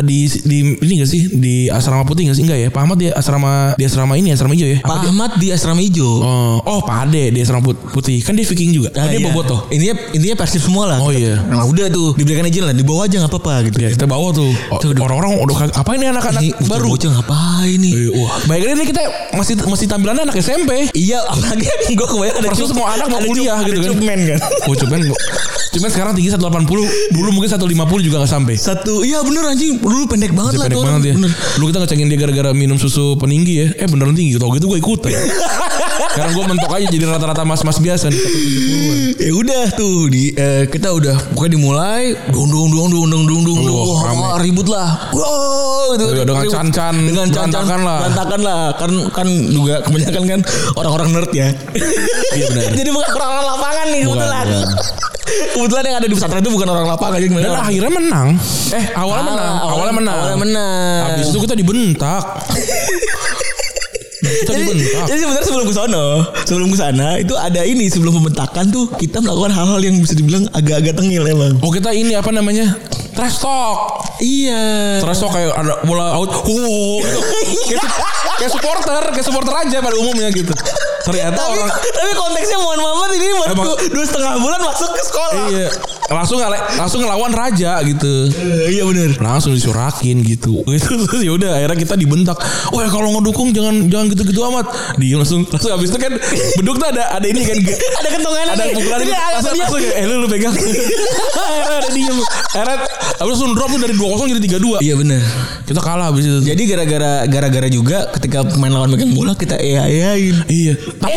Speaker 3: di, di- ini gak sih di asrama putih gak sih enggak ya? Pak Ahmad di asrama di asrama ini asrama hijau ya?
Speaker 2: Pak Ahmad di asrama hijau.
Speaker 3: Oh, oh Pak Ade di asrama put- putih kan dia Viking juga.
Speaker 2: Ah,
Speaker 3: dia
Speaker 2: iya.
Speaker 3: Bobotoh.
Speaker 2: Intinya intinya persib semua lah.
Speaker 3: Oh iya.
Speaker 2: Nah udah tuh diberikan aja lah dibawa aja nggak apa-apa gitu.
Speaker 3: Ya kita bawa tuh O- orang-orang udah kag- apa ini anak-anak
Speaker 2: Ini
Speaker 3: baru.
Speaker 2: bocah Iya, ngapain nih?
Speaker 3: Eh, Wah, bayangin ini kita masih masih tampilannya anak SMP.
Speaker 2: Iya apalagi gue kebayang ada
Speaker 3: Persis
Speaker 2: cup-
Speaker 3: mau anak mau
Speaker 2: ada cup-
Speaker 3: kuliah gitu
Speaker 2: ada
Speaker 3: kan.
Speaker 2: cupmen kan.
Speaker 3: Oh, cuman cuman sekarang tinggi 180, dulu mungkin 150 juga gak sampai.
Speaker 2: Satu iya bener anjing dulu pendek banget lah
Speaker 3: Pendek
Speaker 2: tuh
Speaker 3: banget
Speaker 2: orang.
Speaker 3: ya.
Speaker 2: Bener.
Speaker 3: Dulu kita ngecengin dia gara-gara minum susu peninggi ya. Eh beneran tinggi. Tau gitu gue ikutan. Sekarang gue mentok aja jadi rata-rata mas-mas biasa nih.
Speaker 2: Ya udah tuh di eh, kita udah pokoknya dimulai dong dong dong dong dong dong dong dong.
Speaker 3: Wah,
Speaker 2: Wah,
Speaker 3: rame.
Speaker 2: wah, ribut lah. Wah, gitu.
Speaker 3: Iya, dengan
Speaker 2: Ribut.
Speaker 3: can-can,
Speaker 2: dengan cancan
Speaker 3: berantakan lah.
Speaker 2: Berantakan lah. Kan kan juga kebanyakan kan orang-orang nerd ya.
Speaker 3: Iya benar.
Speaker 2: Jadi bukan orang-orang lapangan nih
Speaker 3: Bukan,
Speaker 2: kebetulan.
Speaker 3: bukan.
Speaker 2: kebetulan yang ada di pesantren itu bukan orang lapangan jadi
Speaker 3: Dan akhirnya menang. Eh awalnya
Speaker 2: Kalah,
Speaker 3: menang.
Speaker 2: awalnya-
Speaker 3: Awalnya menang.
Speaker 2: awalnya menang.
Speaker 3: Habis itu kita dibentak. Kita
Speaker 2: jadi,
Speaker 3: dibentak.
Speaker 2: jadi sebenarnya sebelum ke sono, sebelum ke sana itu ada ini sebelum pementakan tuh kita melakukan hal-hal yang bisa dibilang agak-agak tengil emang.
Speaker 3: Oh kita ini apa namanya Trash talk
Speaker 2: Iya.
Speaker 3: Trash talk kayak ada bola out Wow gitu. kayak, su- kayak supporter Kayak supporter aja pada umumnya gitu Ternyata
Speaker 2: Tapi,
Speaker 3: orang
Speaker 2: tapi konteksnya mohon maaf ini baru
Speaker 3: Emang-
Speaker 2: dua, dua setengah bulan masuk ke sekolah.
Speaker 3: Iya Langsung ngele- langsung ngelawan raja gitu
Speaker 2: Eh, iya bener.
Speaker 3: langsung disurakin gitu gitu terus ya udah akhirnya kita dibentak wah kalau ngedukung jangan jangan gitu-gitu amat di langsung langsung habis itu kan beduk tuh ada ada ini kan ge-
Speaker 2: Ada kentongan
Speaker 3: ada pukulan
Speaker 2: Jadi
Speaker 3: gitu.
Speaker 2: agak
Speaker 3: langsung
Speaker 2: dia
Speaker 3: langsung kayak, eh lu lu pegang akhirnya ada diem akhirnya habis langsung drop tuh dari 2-0 jadi 3-2
Speaker 2: Iya bener.
Speaker 3: kita kalah habis itu
Speaker 2: Jadi gara-gara gara-gara juga ketika pemain lawan megang bola kita iya iyain.
Speaker 3: iya tapi,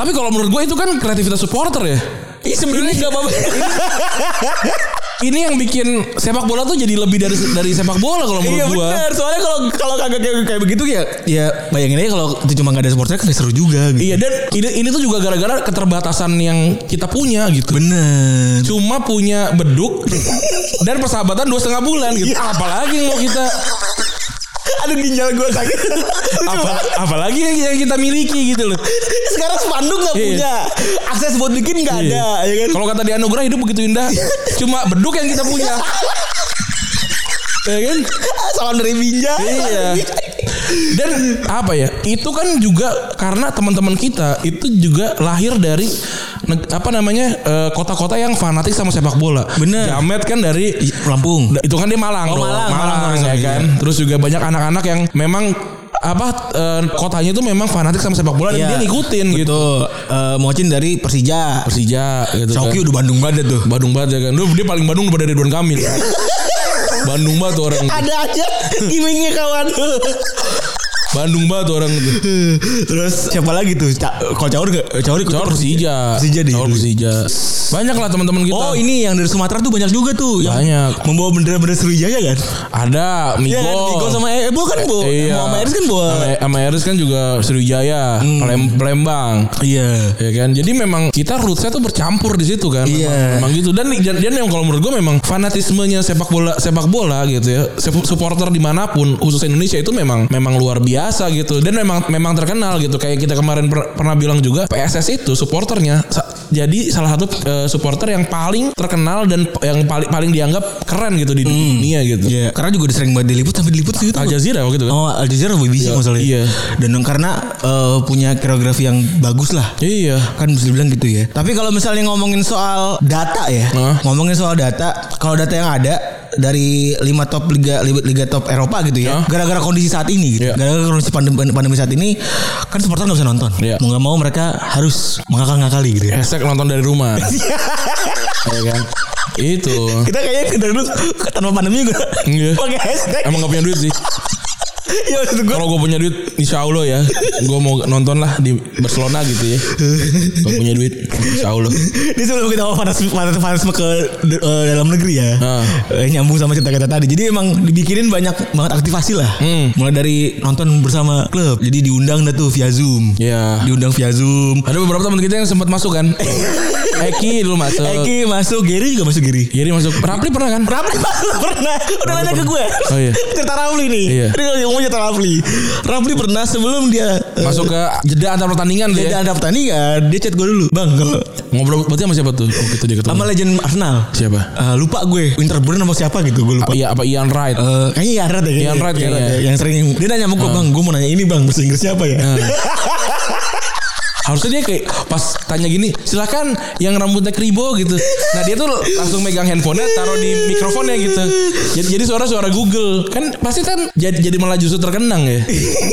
Speaker 3: tapi kalau menurut gue itu kan kreativitas supporter ya
Speaker 2: Iya sebenarnya nggak apa-apa.
Speaker 3: ini yang bikin sepak bola tuh jadi lebih dari dari sepak bola kalau menurut
Speaker 2: Iya
Speaker 3: gue
Speaker 2: benar. Soalnya kalau kalau kagak kayak kayak begitu ya ya bayangin aja kalau itu cuma nggak ada sportnya kan nggak seru juga. Gitu.
Speaker 3: Iya dan ini, ini tuh juga gara-gara keterbatasan yang kita punya gitu.
Speaker 2: Bener.
Speaker 3: cuma punya beduk dan persahabatan dua setengah bulan gitu.
Speaker 2: Iya.
Speaker 3: Apalagi yang mau kita
Speaker 2: Aduh ginjal gue sakit.
Speaker 3: apa, apalagi yang yang kita miliki gitu loh.
Speaker 2: Sekarang spanduk nggak
Speaker 3: Iya.
Speaker 2: punya, akses buat bikin nggak ada, ya kan?
Speaker 3: Kalau kata di anugerah hidup begitu indah, cuma beduk yang kita punya. ya kan?
Speaker 2: Salam dari Binjai.
Speaker 3: Iya. Dan apa ya? Itu kan juga karena teman-teman kita itu juga lahir dari neg- apa namanya eh, kota-kota yang fanatik sama sepak bola.
Speaker 2: Bener.
Speaker 3: Jamet kan dari
Speaker 2: Lampung.
Speaker 3: Nah, itu kan dia Malang,
Speaker 2: Oh,
Speaker 3: dong.
Speaker 2: Malang,
Speaker 3: Malang,
Speaker 2: Malang,
Speaker 3: ya
Speaker 2: sorry,
Speaker 3: kan.
Speaker 2: iya.
Speaker 3: Terus juga banyak anak-anak yang memang apa eh, kotanya itu memang fanatik sama sepak bola
Speaker 2: Iya.
Speaker 3: dan dia ngikutin gitu.
Speaker 2: Gitu. Eh, Mocin dari Persija.
Speaker 3: Persija gitu
Speaker 2: Coki
Speaker 3: kan.
Speaker 2: udah Bandung banget tuh.
Speaker 3: Bandung banget ya kan. Duh, dia paling Bandung daripada Ridwan Kamil. Bandung banget tuh orang.
Speaker 2: Ada aja gimmicknya kawan.
Speaker 3: Bandung banget tuh orang itu.
Speaker 2: Terus siapa lagi tuh? Ca- Kalau Caur nggak? Caur Eh, ikut
Speaker 3: Cawar Persija.
Speaker 2: Persija deh.
Speaker 3: Cawar Persija. Banyak lah teman-teman kita.
Speaker 2: Oh ini yang dari Sumatera tuh banyak juga tuh yang
Speaker 3: Banyak.
Speaker 2: membawa bendera-bendera Sriwijaya kan?
Speaker 3: Ada Migo.
Speaker 2: Iya kan? Digo sama Ebo kan bu,
Speaker 3: Iya.
Speaker 2: sama Eris kan bu.
Speaker 3: Sama, sama Eris kan juga Sriwijaya,
Speaker 2: Hmm.
Speaker 3: Palem- Palembang.
Speaker 2: Iya.
Speaker 3: Ya kan, jadi memang kita rootsnya tuh bercampur di situ kan, Memang-
Speaker 2: Iya.
Speaker 3: memang, gitu. Dan dan, dan yang kalau menurut gue memang fanatismenya sepak bola sepak bola gitu ya, Sep- supporter dimanapun, khusus Indonesia itu memang memang luar biasa gitu. Dan memang memang terkenal gitu. Kayak kita kemarin per- pernah bilang juga PSS itu supporternya sa- jadi salah satu eh, supporter yang paling terkenal dan p- yang paling paling dianggap keren gitu di dunia gitu.
Speaker 2: Iya. Karena juga udah sering banget diliput sampai diliput gitu.
Speaker 3: Al Jazeera waktu itu kan.
Speaker 2: Oh Al Jazeera BBC
Speaker 3: Iya,
Speaker 2: masalahnya.
Speaker 3: iya.
Speaker 2: Dan karena eh, punya koreografi yang bagus lah.
Speaker 3: Iya.
Speaker 2: Kan bisa dibilang gitu ya. Tapi kalau misalnya ngomongin soal data ya,
Speaker 3: Heeh.
Speaker 2: ngomongin soal data, kalau data yang ada dari lima top liga liga- liga top Eropa gitu ya,
Speaker 3: Heeh.
Speaker 2: gara-gara kondisi saat ini gitu,
Speaker 3: Iya.
Speaker 2: gara-gara kondisi pandemi, pandemi saat ini, kan supporter nggak bisa nonton,
Speaker 3: Iya.
Speaker 2: mau nggak mau mereka harus mengakal-ngakali gitu. ya.
Speaker 3: Hashtag nonton dari rumah. Iya kan. Itu.
Speaker 2: Kita kayaknya kita dulu tanpa pandemi juga
Speaker 3: Iya.
Speaker 2: pakai hashtag.
Speaker 3: Emang gak punya duit sih.
Speaker 2: Ya maksud gue.
Speaker 3: Kalau gue punya duit Insya Allah ya Gue mau nonton lah Di Barcelona gitu ya Kalau punya duit Insya Allah
Speaker 2: Ini sebelum kita mau panas panas panas ke eh, dalam negeri ya.
Speaker 3: Ah.
Speaker 2: Eh, nyambung sama cerita-cerita tadi. Jadi emang dibikinin banyak banget aktivasi lah.
Speaker 3: Hmm.
Speaker 2: Mulai dari nonton bersama klub. Jadi diundang dah tuh via Zoom.
Speaker 3: Ya
Speaker 2: Diundang via Zoom.
Speaker 3: Ada beberapa teman kita yang sempat masuk kan Eki dulu masuk
Speaker 2: Eki masuk, Gary juga masuk Gary.
Speaker 3: Giri masuk Rapli pernah kan
Speaker 2: Rafli baru pernah Udah nanya ke gue
Speaker 3: Oh, iya.
Speaker 2: Cerita Rafli nih
Speaker 3: Iya.
Speaker 2: Ini kalau ngomong cerita Rafli Rafli pernah sebelum dia eh,
Speaker 3: Masuk ke jeda antar pertandingan tuh
Speaker 2: Beda
Speaker 3: ya
Speaker 2: ada pertandingan Dia chat gue dulu Bang
Speaker 3: Hmm.
Speaker 2: kalau
Speaker 3: Ngobrol berarti sama siapa tuh Waktu itu dia ketemu
Speaker 2: Sama legend Arsenal
Speaker 3: Siapa
Speaker 2: Eh, Lupa gue Winterburn sama siapa gitu Gue lupa
Speaker 3: Iya apa Ian Wright
Speaker 2: Eh, kayaknya Ian Wright ya kayaknya.
Speaker 3: Ian Wright
Speaker 2: ya.
Speaker 3: kayaknya.
Speaker 2: Yang sering Dia nanya sama gue Bang gue mau nanya ini bang Bahasa Inggrisnya apa ya
Speaker 3: Nah. Harusnya dia kayak pas tanya gini, silakan yang rambutnya kribo gitu. Nah dia tuh langsung megang handphonenya, taruh di mikrofonnya gitu. Jadi, jadi suara suara Google kan pasti kan jadi jadi malah justru terkenang ya.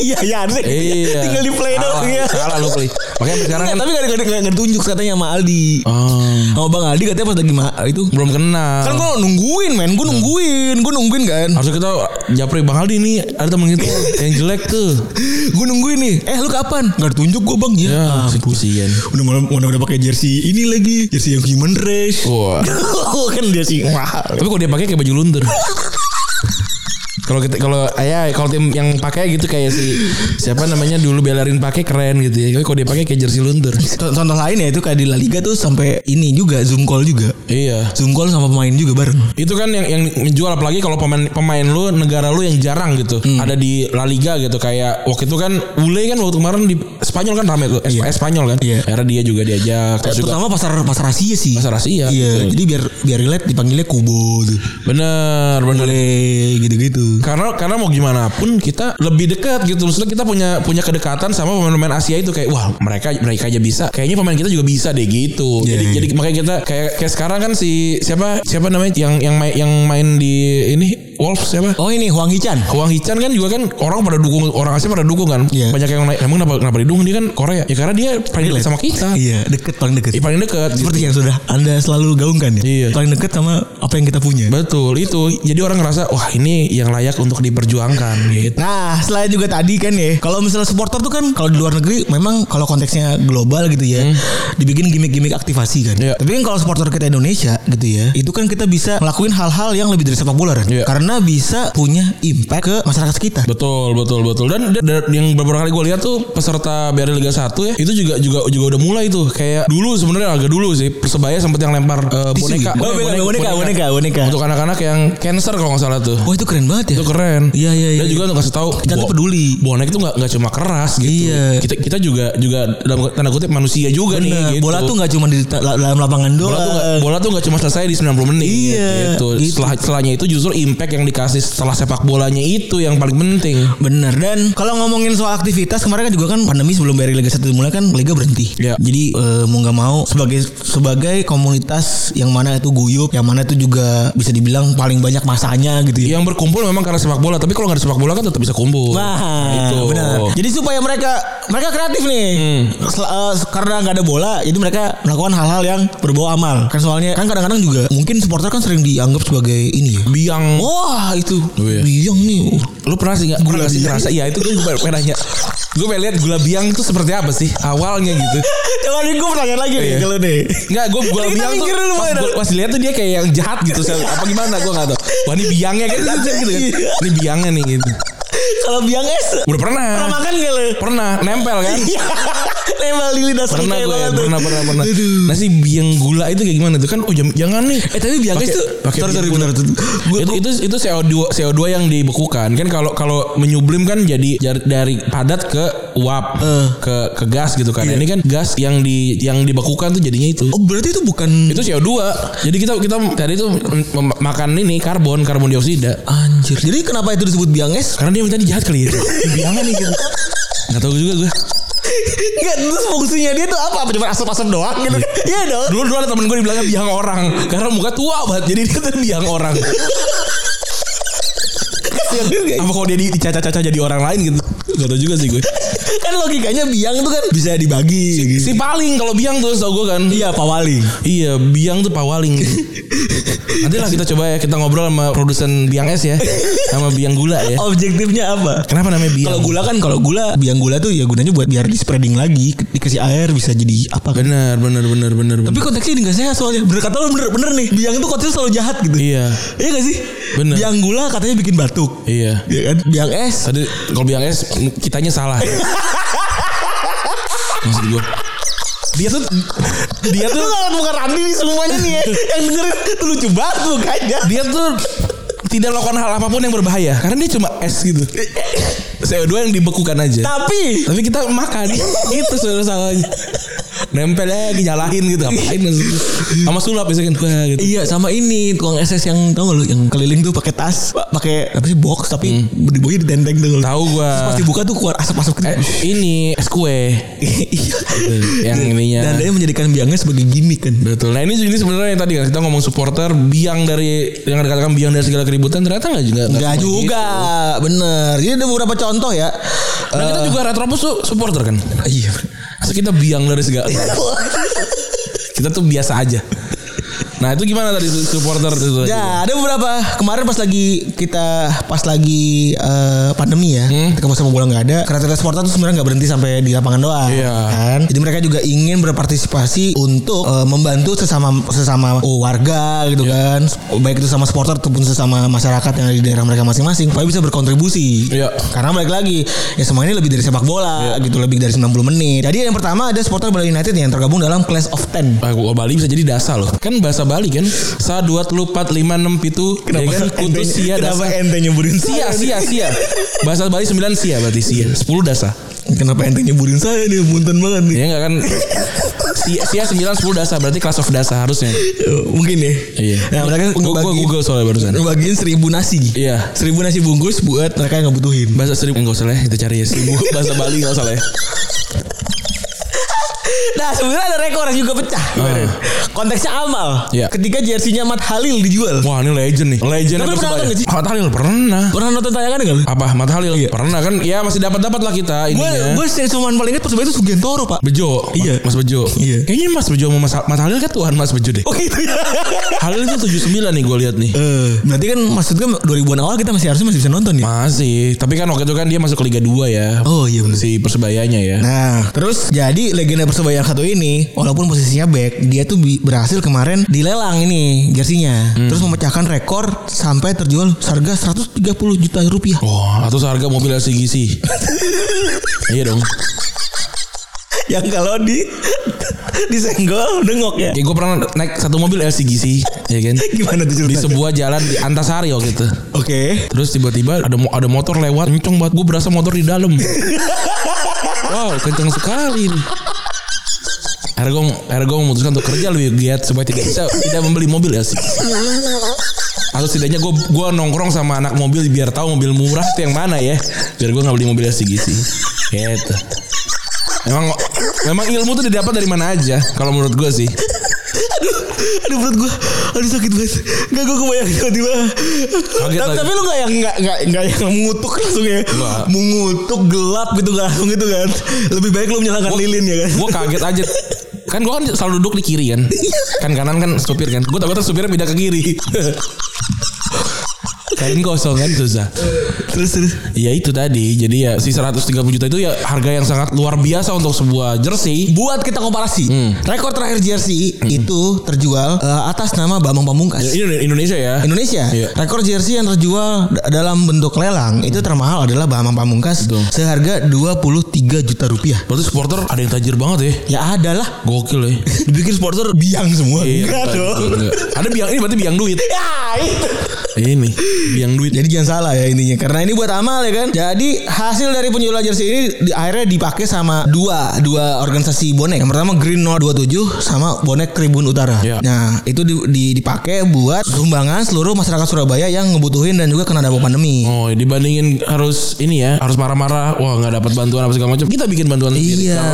Speaker 2: Iya iya harusnya gitu ya.
Speaker 3: Iya.
Speaker 2: Tinggal di play doh
Speaker 3: Salah,
Speaker 2: Iya
Speaker 3: Salah lu play. Makanya sekarang
Speaker 2: Nggak,
Speaker 3: kan
Speaker 2: Tapi gak, gak, gak, gak ditunjuk katanya sama Aldi
Speaker 3: oh,
Speaker 2: Sama Bang Aldi katanya pas lagi ma- itu
Speaker 3: belum kenal.
Speaker 2: Kan gue nungguin men
Speaker 3: Nah.
Speaker 2: Gue nungguin Gue nungguin kan
Speaker 3: Harusnya kita japri Bang Aldi nih ada temen kita yang jelek tuh.
Speaker 2: Gue nungguin nih Eh lu kapan Gak ditunjuk gue bang Ya,
Speaker 3: Ya,
Speaker 2: ampun.
Speaker 3: kesian.
Speaker 2: Udah mulai udah, udah pakai jersey ini lagi Jersey yang human race
Speaker 3: Wah.
Speaker 2: kan dia sih mahal
Speaker 3: Tapi kalau dia pakai kayak baju luntur. Kalau kita kalau ya kalau tim yang pakai gitu kayak si siapa namanya dulu belarin pakai keren gitu ya. Tapi kalau dia pakai kayak jersey luntur.
Speaker 2: Contoh contoh lain ya itu kayak di La Liga tuh sampai ini juga zoom call juga.
Speaker 3: Iya.
Speaker 2: Zoom call sama pemain juga bareng.
Speaker 3: Itu kan yang yang menjual apalagi kalau pemain pemain lu negara lu yang jarang gitu.
Speaker 2: Hmm.
Speaker 3: Ada di La Liga gitu kayak waktu itu kan Ule kan waktu kemarin di Spanyol kan rame tuh. Es- Spanyol kan.
Speaker 2: Iya.
Speaker 3: Era dia juga diajak terus juga gitu.
Speaker 2: Terutama pasar pasar Asia sih.
Speaker 3: Pasar Asia,
Speaker 2: Iya. Jadi biar biar relate dipanggilnya Kubo tuh.
Speaker 3: bener bener
Speaker 2: Boleh gitu-gitu.
Speaker 3: karena karena mau gimana pun kita lebih dekat gitu maksudnya kita punya punya kedekatan sama pemain-pemain Asia itu kayak wah mereka mereka aja bisa kayaknya pemain kita juga bisa deh gitu
Speaker 2: Iya,
Speaker 3: jadi
Speaker 2: iya.
Speaker 3: jadi makanya kita kayak kayak sekarang kan si siapa siapa namanya yang yang main yang main di ini Wolves siapa
Speaker 2: Oh ini Huang Hichan.
Speaker 3: Wang Hichan kan juga kan orang pada dukung orang Asia pada dukung kan
Speaker 2: Iya.
Speaker 3: banyak yang naik emang kenapa kenapa didukung dia kan Korea ya karena dia paling dekat sama kita
Speaker 2: Iya, deket paling deket.
Speaker 3: Dia paling dekat gitu.
Speaker 2: Seperti yang sudah Anda selalu gaungkan ya.
Speaker 3: Iya.
Speaker 2: Paling deket sama apa yang kita punya.
Speaker 3: betul itu jadi orang ngerasa wah ini yang layak untuk diperjuangkan gitu
Speaker 2: Nah, selain juga tadi kan ya, kalau misalnya supporter tuh kan kalau di luar negeri memang kalau konteksnya global gitu ya, dibikin gimmick-gimmick aktivasi kan.
Speaker 3: Hmm. Iya.
Speaker 2: Tapi kan kalau supporter kita Indonesia gitu ya, itu kan kita bisa ngelakuin hal-hal yang lebih dari sepak bola kan.
Speaker 3: Iya.
Speaker 2: Karena bisa punya impact ke masyarakat sekitar.
Speaker 3: Betul, betul, betul. Dan, dan- dan yang beberapa kali gue lihat tuh peserta BRI Liga 1 ya, itu juga juga juga udah mulai tuh. Kayak dulu sebenarnya agak dulu sih Persebaya sempat yang lempar eh,
Speaker 2: Tisu
Speaker 3: boneka.
Speaker 2: gitu? Oh, boneka, boneka, boneka, boneka.
Speaker 3: Untuk anak-anak yang cancer kalau nggak salah tuh.
Speaker 2: Wah, itu keren banget ya.
Speaker 3: Itu keren.
Speaker 2: Iya, iya, iya.
Speaker 3: Dan juga untuk kasih tahu
Speaker 2: Kita tuh
Speaker 3: bo-
Speaker 2: peduli.
Speaker 3: Bonek itu nggak nggak cuma keras gitu.
Speaker 2: Iya.
Speaker 3: Kita kita juga juga dalam tanda kutip manusia juga nih
Speaker 2: Bener,
Speaker 3: gitu.
Speaker 2: Bola tuh nggak cuma di ta- la- dalam lapangan
Speaker 3: bola tuh nggak-
Speaker 2: doang.
Speaker 3: bola tuh nggak cuma selesai di 90 menit
Speaker 2: Iya,
Speaker 3: gitu.
Speaker 2: gitu.
Speaker 3: Setelah setelahnya itu justru impact yang dikasih setelah sepak bolanya itu yang paling penting.
Speaker 2: Bener dan kalau ngomongin soal aktivitas kemarin kan juga kan pandemi sebelum dari Liga 1 mulai kan Liga berhenti.
Speaker 3: Iya.
Speaker 2: Jadi eh, mau nggak mau sebagai sebagai komunitas yang mana itu guyup, yang mana itu juga bisa dibilang paling banyak masanya gitu ya.
Speaker 3: yang berkumpul memang karena sepak bola tapi kalau nggak ada sepak bola kan tetap bisa kumpul Gitu.
Speaker 2: Nah,
Speaker 3: itu Hmm.
Speaker 2: benar. Jadi supaya mereka mereka kreatif nih, Sel- eh, karena nggak ada bola, jadi mereka melakukan hal-hal yang berbau amal. Kan soalnya kan kadang-kadang juga mungkin supporter kan sering dianggap sebagai ini ya.
Speaker 3: biang
Speaker 2: Wah itu
Speaker 3: Oh, iya.
Speaker 2: biang nih.
Speaker 3: lu pernah sih nggak pernah nggak sih
Speaker 2: biang.
Speaker 3: ngerasa iya itu gue pengen nanya gue pengen lihat gula biang itu seperti apa sih awalnya gitu
Speaker 2: Coba nih gue pertanyaan lagi nih
Speaker 3: Iya.
Speaker 2: ke lu nih.
Speaker 3: Enggak, gue gula
Speaker 2: Kita
Speaker 3: biang tuh
Speaker 2: kan mikir dulu,
Speaker 3: pas,
Speaker 2: Pak.
Speaker 3: gua- pas lihat tuh dia kayak yang jahat gitu Sel. apa gimana gue nggak tahu wah ini biangnya kayak gitu, gitu, gitu kan
Speaker 2: Iya.
Speaker 3: ini biangnya nih gitu
Speaker 2: Kalau biang es
Speaker 3: udah pernah
Speaker 2: Pernah makan gak lo?
Speaker 3: pernah nempel kan
Speaker 2: Nempel di lidah sakit
Speaker 3: pernah
Speaker 2: kayak
Speaker 3: gue
Speaker 2: banget tuh.
Speaker 3: pernah pernah pernah Nah,
Speaker 2: Aduh.
Speaker 3: nasi biang gula itu kayak gimana tuh kan oh jam- jangan nih
Speaker 2: Eh tapi biang es
Speaker 3: Pakai-
Speaker 2: tuh
Speaker 3: pakai
Speaker 2: Sorry
Speaker 3: biang
Speaker 2: sorry
Speaker 3: gula.
Speaker 2: benar Gua-
Speaker 3: itu itu itu CO2 CO2 yang dibekukan kan kalau kalau menyublim kan jadi jar- dari padat ke uap
Speaker 2: Eh. Iya.
Speaker 3: ke ke gas gitu kan ini kan gas yang di yang dibekukan tuh jadinya itu
Speaker 2: Oh berarti itu bukan
Speaker 3: itu CO2 jadi kita kita tadi tuh mem- mem- makan ini karbon karbon dioksida
Speaker 2: Anjir Jadi kenapa itu disebut biang es?
Speaker 3: karena dia tadi jahat kali ya biangan nih gitu nggak tahu juga gue
Speaker 2: Enggak Iya, terus fungsinya dia tuh apa? Apa cuma asap-asap doang gitu kan? Iya dong
Speaker 3: dulu dulu ada temen gue dibilangnya biang orang karena muka tua banget jadi dia tuh biang orang
Speaker 2: Kasihan juga ya.
Speaker 3: apa kalau dia di- dicaca-caca jadi orang lain gitu nggak tahu juga sih Iya, gue
Speaker 2: Kan logikanya biang itu kan bisa dibagi gitu.
Speaker 3: si paling kalau biang tuh tau gue kan
Speaker 2: Iya pawaling
Speaker 3: Iya, biang tuh pawaling. Nanti lah kita coba ya, kita ngobrol sama produsen biang es ya, sama biang gula ya.
Speaker 2: Objektifnya apa?
Speaker 3: Kenapa namanya biang?
Speaker 2: Kalau gula kan kalau gula biang gula tuh ya gunanya buat biar di spreading lagi ke- dikasih air bisa jadi apa kan?
Speaker 3: Bener, bener, bener, bener.
Speaker 2: Tapi
Speaker 3: bener.
Speaker 2: konteksnya ini gak sehat soalnya. Bener kata lo bener bener nih. Biang itu konteksnya selalu jahat gitu.
Speaker 3: iya,
Speaker 2: Iya gak sih?
Speaker 3: Bener.
Speaker 2: Biang gula katanya bikin batuk.
Speaker 3: iya.
Speaker 2: Iya kan? Biang es.
Speaker 3: Tadi kalau biang es, kitanya salah. Maksud gue. Dia tuh, dia
Speaker 2: Itu
Speaker 3: tuh,
Speaker 2: ngeliat muka Randi nih semuanya nih ya. Yang dengerin tuh lucu banget tuh kayaknya.
Speaker 3: dia tuh tidak melakukan hal apapun yang berbahaya karena dia cuma es gitu. CO2 yang dibekukan aja.
Speaker 2: Tapi
Speaker 3: Tapi kita makan gitu saudara salahnya. Nempelnya nyalahin gitu ngapain maksudnya. Sama sulap biasanya kan wah gitu.
Speaker 2: Iya sama ini tukang SS yang tau gak lu yang keliling tuh pakai tas, pa- pakai apa sih box tapi di bawahnya ditenteng tuh. Terus
Speaker 3: Tahu gua.
Speaker 2: pas dibuka tuh keluar asap-asap
Speaker 3: Eh,
Speaker 2: gitu.
Speaker 3: ini es kue
Speaker 2: Iya.
Speaker 3: yang ininya.
Speaker 2: Dan dia menjadikan biangnya sebagai gimmick kan.
Speaker 3: Betul. Nah ini ini sebenarnya yang tadi kan kita ngomong supporter biang dari yang dikatakan biang dari segala keributan ternyata nggak juga.
Speaker 2: Enggak
Speaker 3: cuma gitu.
Speaker 2: juga, bener. Jadi ada beberapa contoh ya.
Speaker 3: Nah, kita juga retropus tuh supporter kan.
Speaker 2: Eh. Iya.
Speaker 3: Masa kita biang dari segala. kita tuh biasa aja. Nah itu gimana tadi supporter itu?
Speaker 2: Ya ada beberapa kemarin pas lagi kita pas lagi eh, pandemi ya,
Speaker 3: Hmm.
Speaker 2: ketika masa bola nggak ada, kreativitas supporter tuh sebenarnya nggak berhenti sampai di lapangan doang,
Speaker 3: Iya.
Speaker 2: kan? Jadi mereka juga ingin berpartisipasi untuk eh, membantu sesama sesama warga gitu
Speaker 3: Iya.
Speaker 2: kan, baik itu sama supporter ataupun sesama masyarakat yang ada di daerah mereka masing-masing, supaya bisa berkontribusi.
Speaker 3: Iya.
Speaker 2: Karena balik lagi ya semua ini lebih dari sepak bola gitu, lebih dari 90 menit. Jadi yang pertama ada supporter Bali United yang tergabung dalam Class of Ten.
Speaker 3: Ah, gua- Bali bisa jadi dasa loh. Kan bahasa Bali kan. Sa dua telu pat lima enam pitu. Ya kan kutu sia
Speaker 2: kenapa
Speaker 3: dasa.
Speaker 2: ente nyebutin
Speaker 3: Sia
Speaker 2: saya?
Speaker 3: sia sia. Bahasa Bali sembilan sia berarti sia. Sepuluh dasa.
Speaker 2: Kenapa ente nyebutin saya nih Bunten banget nih
Speaker 3: Ya enggak kan. Sia sia sembilan sepuluh dasa berarti kelas of dasa harusnya.
Speaker 2: Mungkin ya
Speaker 3: Iya.
Speaker 2: Nah mereka
Speaker 3: Gua- gua
Speaker 2: ngebagi-
Speaker 3: Google soalnya barusan.
Speaker 2: Ngebagiin seribu nasi
Speaker 3: Iya.
Speaker 2: Seribu nasi bungkus buat mereka yang ngebutuhin
Speaker 3: Bahasa seribu enggak usah lah ya, kita cari ya seribu bahasa Bali enggak usah lah ya.
Speaker 2: Nah sebenarnya ada rekor yang juga pecah kemarin. Konteksnya amal
Speaker 3: Iya.
Speaker 2: Ketika jersinya Mat Halil dijual
Speaker 3: Wah ini legend nih. Legend.
Speaker 2: Tapi lu pernah
Speaker 3: Persebaya.
Speaker 2: nonton nggak sih? Iya.
Speaker 3: Mat Halil pernah.
Speaker 2: Pernah nonton tayangan gak lu?
Speaker 3: Apa Mat Halil? Pernah kan? Ya masih dapat dapat lah kita
Speaker 2: Gue
Speaker 3: ininya.
Speaker 2: gue sering cuman paling inget Persebaya itu Sugentoro pak
Speaker 3: Bejo.
Speaker 2: Iya.
Speaker 3: Mas Bejo.
Speaker 2: Iya.
Speaker 3: Kayaknya Mas Bejo sama Mas, Mas Halil kan Tuhan Mas Bejo deh.
Speaker 2: Oh gitu ya
Speaker 3: Halil itu 79 nih gue lihat nih.
Speaker 2: Eh, Berarti kan maksudnya 2000an awal kita masih harusnya masih bisa nonton ya
Speaker 3: Masih, tapi kan waktu itu kan dia masuk ke Liga 2 ya.
Speaker 2: Oh iya bener
Speaker 3: Si Persebayanya ya.
Speaker 2: Nah, terus jadi legenda Persebaya yang satu ini, walaupun posisinya back, dia tuh bi- berhasil kemarin dilelang ini jersinya. Terus memecahkan rekor sampai terjual harga 130 juta rupiah.
Speaker 3: Wah, atau seharga mobil LCGC. iya dong.
Speaker 2: Yang kalau di disenggol nengok ya.
Speaker 3: Kayak gue pernah naik satu mobil LCGC, ya kan?
Speaker 2: Gimana tuh
Speaker 3: Di
Speaker 2: ceritanya?
Speaker 3: sebuah jalan di Antasari waktu itu.
Speaker 2: Oke.
Speaker 3: Terus tiba-tiba ada mo- ada motor lewat, kenceng banget. Gue berasa motor di dalam. wow, kenceng sekali. nih. Akhirnya gue, akhirnya gue memutuskan untuk kerja lebih giat supaya tidak bisa tidak membeli mobil ya sih. Atau setidaknya gue gue nongkrong sama anak mobil biar tahu mobil murah itu yang mana ya. Biar gue nggak beli mobil sih gitu. Gitu. Memang memang ilmu tuh didapat dari mana aja kalau menurut gue sih.
Speaker 2: Aduh perut gue, aduh sakit banget. Gak gue kebayang tiba-tiba. Tapi,
Speaker 3: lagi.
Speaker 2: tapi lu gak yang gak, gak, gak yang mengutuk langsung ya.
Speaker 3: Nggak.
Speaker 2: Mengutuk gelap gitu gak langsung gitu kan. Lebih baik lu menyalakan lilin ya kan.
Speaker 3: gue kaget aja kan gue kan selalu duduk di kiri kan kan kanan kan supir kan gue takutnya supirnya pindah ke kiri kain kosong kan susah
Speaker 2: Terus terus.
Speaker 3: ya itu tadi jadi ya si 130 juta itu ya harga yang sangat luar biasa untuk sebuah jersey Hmm.
Speaker 2: buat kita komparasi rekor terakhir jersey itu terjual eh, atas nama Bambang Pamungkas
Speaker 3: ini Indonesia ya
Speaker 2: Indonesia
Speaker 3: Iya.
Speaker 2: rekor jersey yang terjual da- dalam bentuk lelang itu termahal adalah Bambang Pamungkas
Speaker 3: Betul.
Speaker 2: seharga 23 juta rupiah
Speaker 3: berarti supporter ada yang tajir banget ya
Speaker 2: ya adalah
Speaker 3: gokil ya
Speaker 2: dibikin supporter biang semua
Speaker 3: Iya,
Speaker 2: Enggak dong.
Speaker 3: enggak. ada biang ini berarti biang duit
Speaker 2: Ya, itu.
Speaker 3: ini biang duit
Speaker 2: Jadi jangan salah ya intinya Karena ini buat amal ya kan Jadi hasil dari penjualan jersey ini di, Akhirnya dipakai sama dua Dua organisasi bonek Yang pertama Green 027 Sama bonek Tribun Utara
Speaker 3: Iya.
Speaker 2: Nah itu di, di- dipakai buat Sumbangan seluruh masyarakat Surabaya Yang ngebutuhin dan juga kena dampak pandemi
Speaker 3: Oh, dibandingin harus ini ya, harus marah-marah. Wah, nggak dapat bantuan apa segala macam. Kita bikin bantuan sendiri.
Speaker 2: Iya.